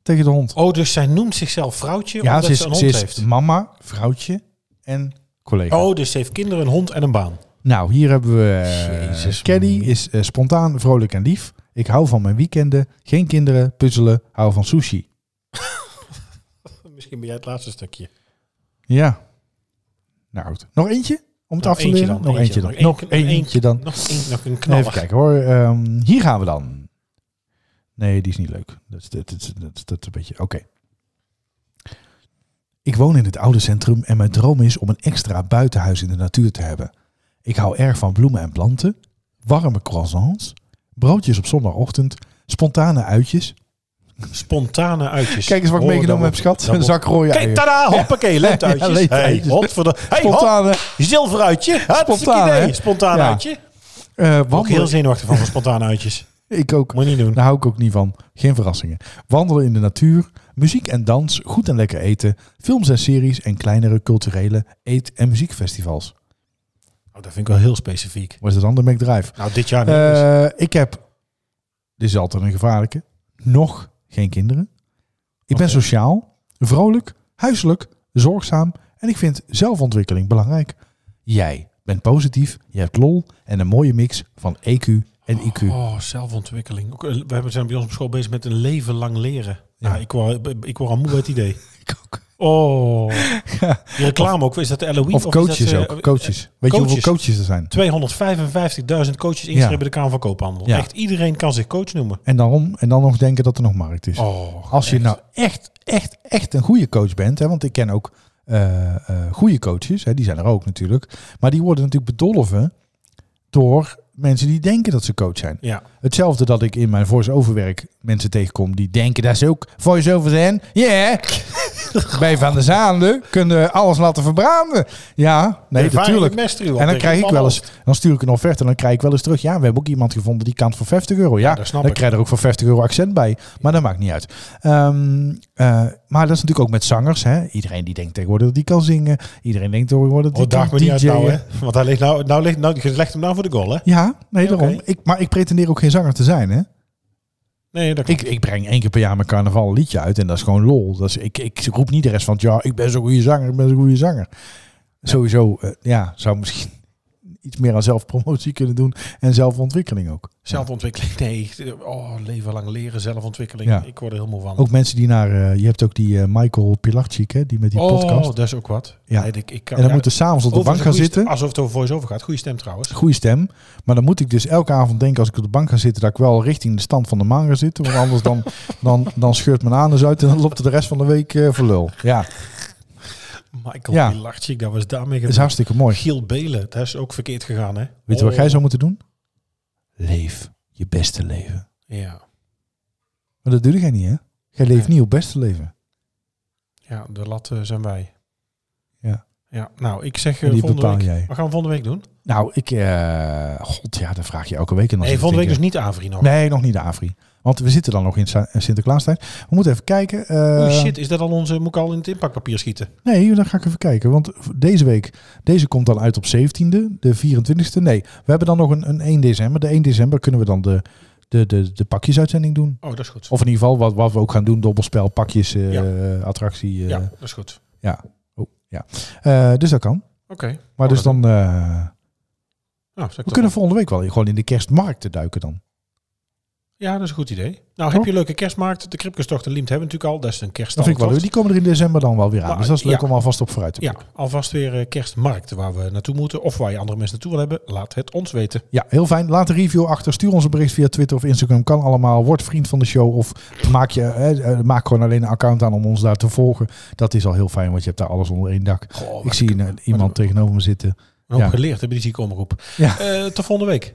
B: Tegen de hond.
C: Oh, dus zij noemt zichzelf vrouwtje
B: Ja,
C: omdat
B: ze
C: ze,
B: is,
C: een hond
B: ze is
C: heeft.
B: mama, vrouwtje en collega.
C: Oh, dus ze heeft kinderen, een hond en een baan.
B: Nou, hier hebben we... eh,
C: Jezus,
B: Caddy
C: man.
B: is eh, spontaan, vrolijk en lief. Ik hou van mijn weekenden. Geen kinderen, puzzelen, hou van sushi.
C: Misschien ben jij het laatste stukje.
B: Ja. Nou, goed. Nog eentje? Om het
C: Nog
B: af te
C: eentje
B: leren?
C: dan,
B: nog eentje dan.
C: Nog
B: Nog
C: één-
B: eentje,
C: nog eentje.
B: dan.
C: Nog een, nog een
B: Even
C: knaller.
B: kijken hoor. Ehm, hier gaan we dan. Nee, die is niet leuk. Dat is, dat is, dat is, dat is een beetje... Oké. Ik woon in het oude centrum en mijn droom is om een extra buitenhuis in de natuur te hebben. Ik hou erg van bloemen en planten, warme croissants, broodjes op zondagochtend, spontane uitjes,
C: Spontane uitjes.
B: Kijk eens wat ik
C: Horen
B: meegenomen
C: dan
B: heb, schat.
C: dan
B: Een zak rode
C: Kijk,
B: eieren.
C: tada, hoppakee, lentuitjes.
B: Ja, lentuitjes.
C: Hey, hop voor de... Hey, hop,
B: Spontane.
C: zilveruitje.
B: Spontaan,
C: Spontaan,
B: hè?
C: Spontaan
B: Ja.
C: uitje.
B: eh
C: Ook heel
B: wandelen.
C: zenuwachtig van, van spontane uitjes.
B: Ik ook.
C: Moet je niet doen.
B: Daar hou ik ook niet van. Geen verrassingen. Wandelen in de natuur, muziek en dans, goed en lekker eten, films en series en kleinere culturele eet- en muziekfestivals.
C: Oh, dat vind ik wel heel specifiek.
B: Wat is dat dan? De McDrive.
C: Nou, dit jaar niet. dus.
B: Eh ik heb, dit is altijd een gevaarlijke, nog geen kinderen. Ik ben
C: Oké.
B: sociaal, vrolijk, huiselijk, zorgzaam en ik vind zelfontwikkeling belangrijk. Jij bent positief, je hebt lol en een mooie mix van EQ en IQ.
C: Oh, zelfontwikkeling. Ook, eh, We hebben- zijn bij ons op school bezig met een leven lang leren. Ja, ik, word, eh, ik word al moe bij het idee.
B: Ik ook.
C: Oh. Die reclame ook. Is dat de LOE?
B: Of
C: is
B: coaches
C: dat, eh,
B: ook, coaches. Weet je hoeveel
C: coaches.
B: coaches er zijn?
C: 255.000 coaches ingeschreven
B: Ja.
C: bij de Kamer van Koophandel.
B: Ja.
C: Echt iedereen kan zich coach noemen.
B: En, daarom, en dan nog denken dat er nog markt is.
C: Oh,
B: Als je
C: echt.
B: nou echt, echt, echt een goede coach bent, hè, want ik ken ook eh, eh, goede coaches, hè, die zijn er ook natuurlijk, maar die worden natuurlijk bedolven door mensen die denken dat ze coach zijn.
C: Ja.
B: Hetzelfde dat ik in mijn voice-over werk mensen tegenkom die denken dat ze ook voice-over zijn. Ja, bij Van der Zaande kunnen alles laten verbranden. Ja, nee, natuurlijk. En dan krijg ik wel eens, dan stuur ik een offerte en dan krijg ik wel eens terug. Ja, we hebben ook iemand gevonden die kan voor 50 euro. Ja,
C: dat snap
B: dan
C: ik.
B: krijg je er ook voor 50 euro accent bij. Maar dat maakt niet uit. Ehm, eh, maar dat is natuurlijk ook met zangers. Hè? Iedereen die denkt tegenwoordig dat die kan zingen. Iedereen denkt tegenwoordig dat
C: Oh,
B: die
C: daag me
B: kan
C: niet uit nou,
B: DJ'en.
C: hè. Want hij ligt nou, nou, ligt, nou, je legt hem nou voor de goal, hè?
B: Ja, nee,
C: Ja, oké.
B: daarom. Ik, maar ik pretendeer ook geen zanger te zijn, hè?
C: Nee, dat
B: Ik, ik breng één keer per jaar mijn carnaval een liedje uit en dat is gewoon lol. Dat is, ik, ik roep niet de rest van het jaar, ik ben zo'n goede zanger, ik ben zo'n goede zanger. Sowieso, eh, ja, zou misschien iets meer aan zelfpromotie kunnen doen en zelfontwikkeling ook.
C: Zelfontwikkeling, nee. Oh, leven lang leren, zelfontwikkeling.
B: Ja.
C: Ik word er heel moe van.
B: Ook mensen die naar, eh, je hebt ook die eh, Michael Pilarczyk, hè, die met die
C: oh,
B: podcast.
C: dat is ook wat.
B: Ja.
C: Nee, ik, ik kan,
B: En dan
C: ja,
B: moeten ze s'avonds op de bank
C: overigens
B: gaan
C: een goede stem-
B: zitten.
C: Alsof het over voice-over gaat. Goede stem trouwens.
B: Goede stem. Maar dan moet ik dus elke avond denken als ik op de bank ga zitten, dat ik wel richting de stand van de maan ga zitten. Want anders dan, dan, dan scheurt mijn anus uit en dan loopt het de rest van de week eh voor lul. Ja,
C: Michael
B: Ja.
C: ja. Pilarczyk, dat was daarmee
B: dat is
C: gedaan.
B: hartstikke mooi.
C: Giel Belen, dat is ook verkeerd gegaan, hè?
B: Weet je wat
C: Oh.
B: jij zou moeten doen? Leef je beste leven.
C: Oh, Ja.
B: Maar dat doe jij niet, hè? Jij leeft
C: Nee.
B: niet op beste leven.
C: ja, de latten zijn wij.
B: Ja.
C: Ja, nou, ik zeg
B: En
C: eh
B: die
C: volgende
B: bepaal
C: week.
B: jij.
C: Wat gaan we volgende week doen?
B: Nou, ik... eh, God, ja, dat vraag je elke week. En dan
C: Nee,
B: zit ik
C: volgende week
B: te
C: dus niet Avri nog.
B: denken- Nee, nog niet de Afri. Want we zitten dan nog in Sa- Sinterklaastijd. We moeten even kijken. eh,
C: Oh shit, is dat al onze... Moet ik al in het inpakpapier schieten?
B: Nee, dan ga ik even kijken. Want deze week, deze komt dan uit op 17e, de 24e. Nee, we hebben dan nog een, een 1 december. De 1 december kunnen we dan de, de, de, de pakjesuitzending doen.
C: Oh, dat is goed.
B: Of in ieder geval wat, wat we ook gaan doen, dobbelspel, pakjes, eh, attractie. eh,
C: ja, dat is goed.
B: eh, dus dat kan.
C: Oké.
B: Maar
C: Oh,
B: dus
C: dat
B: dan, eh,
C: Nou, zal ik
B: we
C: dat
B: kunnen
C: doen?
B: volgende week wel gewoon in de kerstmarkten duiken dan.
C: Ja, dat is een goed idee. Nou,
B: Toch?
C: heb je een leuke kerstmarkt. De Kripkestocht en Liemt hebben we natuurlijk al. Dat is een kerst.
B: Dat vind ik wel leuk. Die komen er in december dan wel weer aan.
C: Maar,
B: dus dat is leuk
C: Oh, Nou, ja.
B: om alvast op vooruit te
C: Ja, alvast weer eh, kerstmarkten waar we naartoe moeten. Of waar je andere mensen naartoe wil hebben. Laat het ons weten.
B: Ja, heel fijn. Laat een review achter. Stuur ons een bericht via Twitter of Instagram. Kan allemaal. Word vriend van de show. Of maak, je, eh, eh, maak gewoon alleen een account aan om ons daar te volgen. Dat is al heel fijn, want je hebt daar alles onder één dak.
C: Goh,
B: Ik zie een- iemand tegenover me zitten.
C: Een hoop
B: Ja.
C: geleerd hebben die ziekenomroep.
B: Ja.
C: Eh, tot volgende week.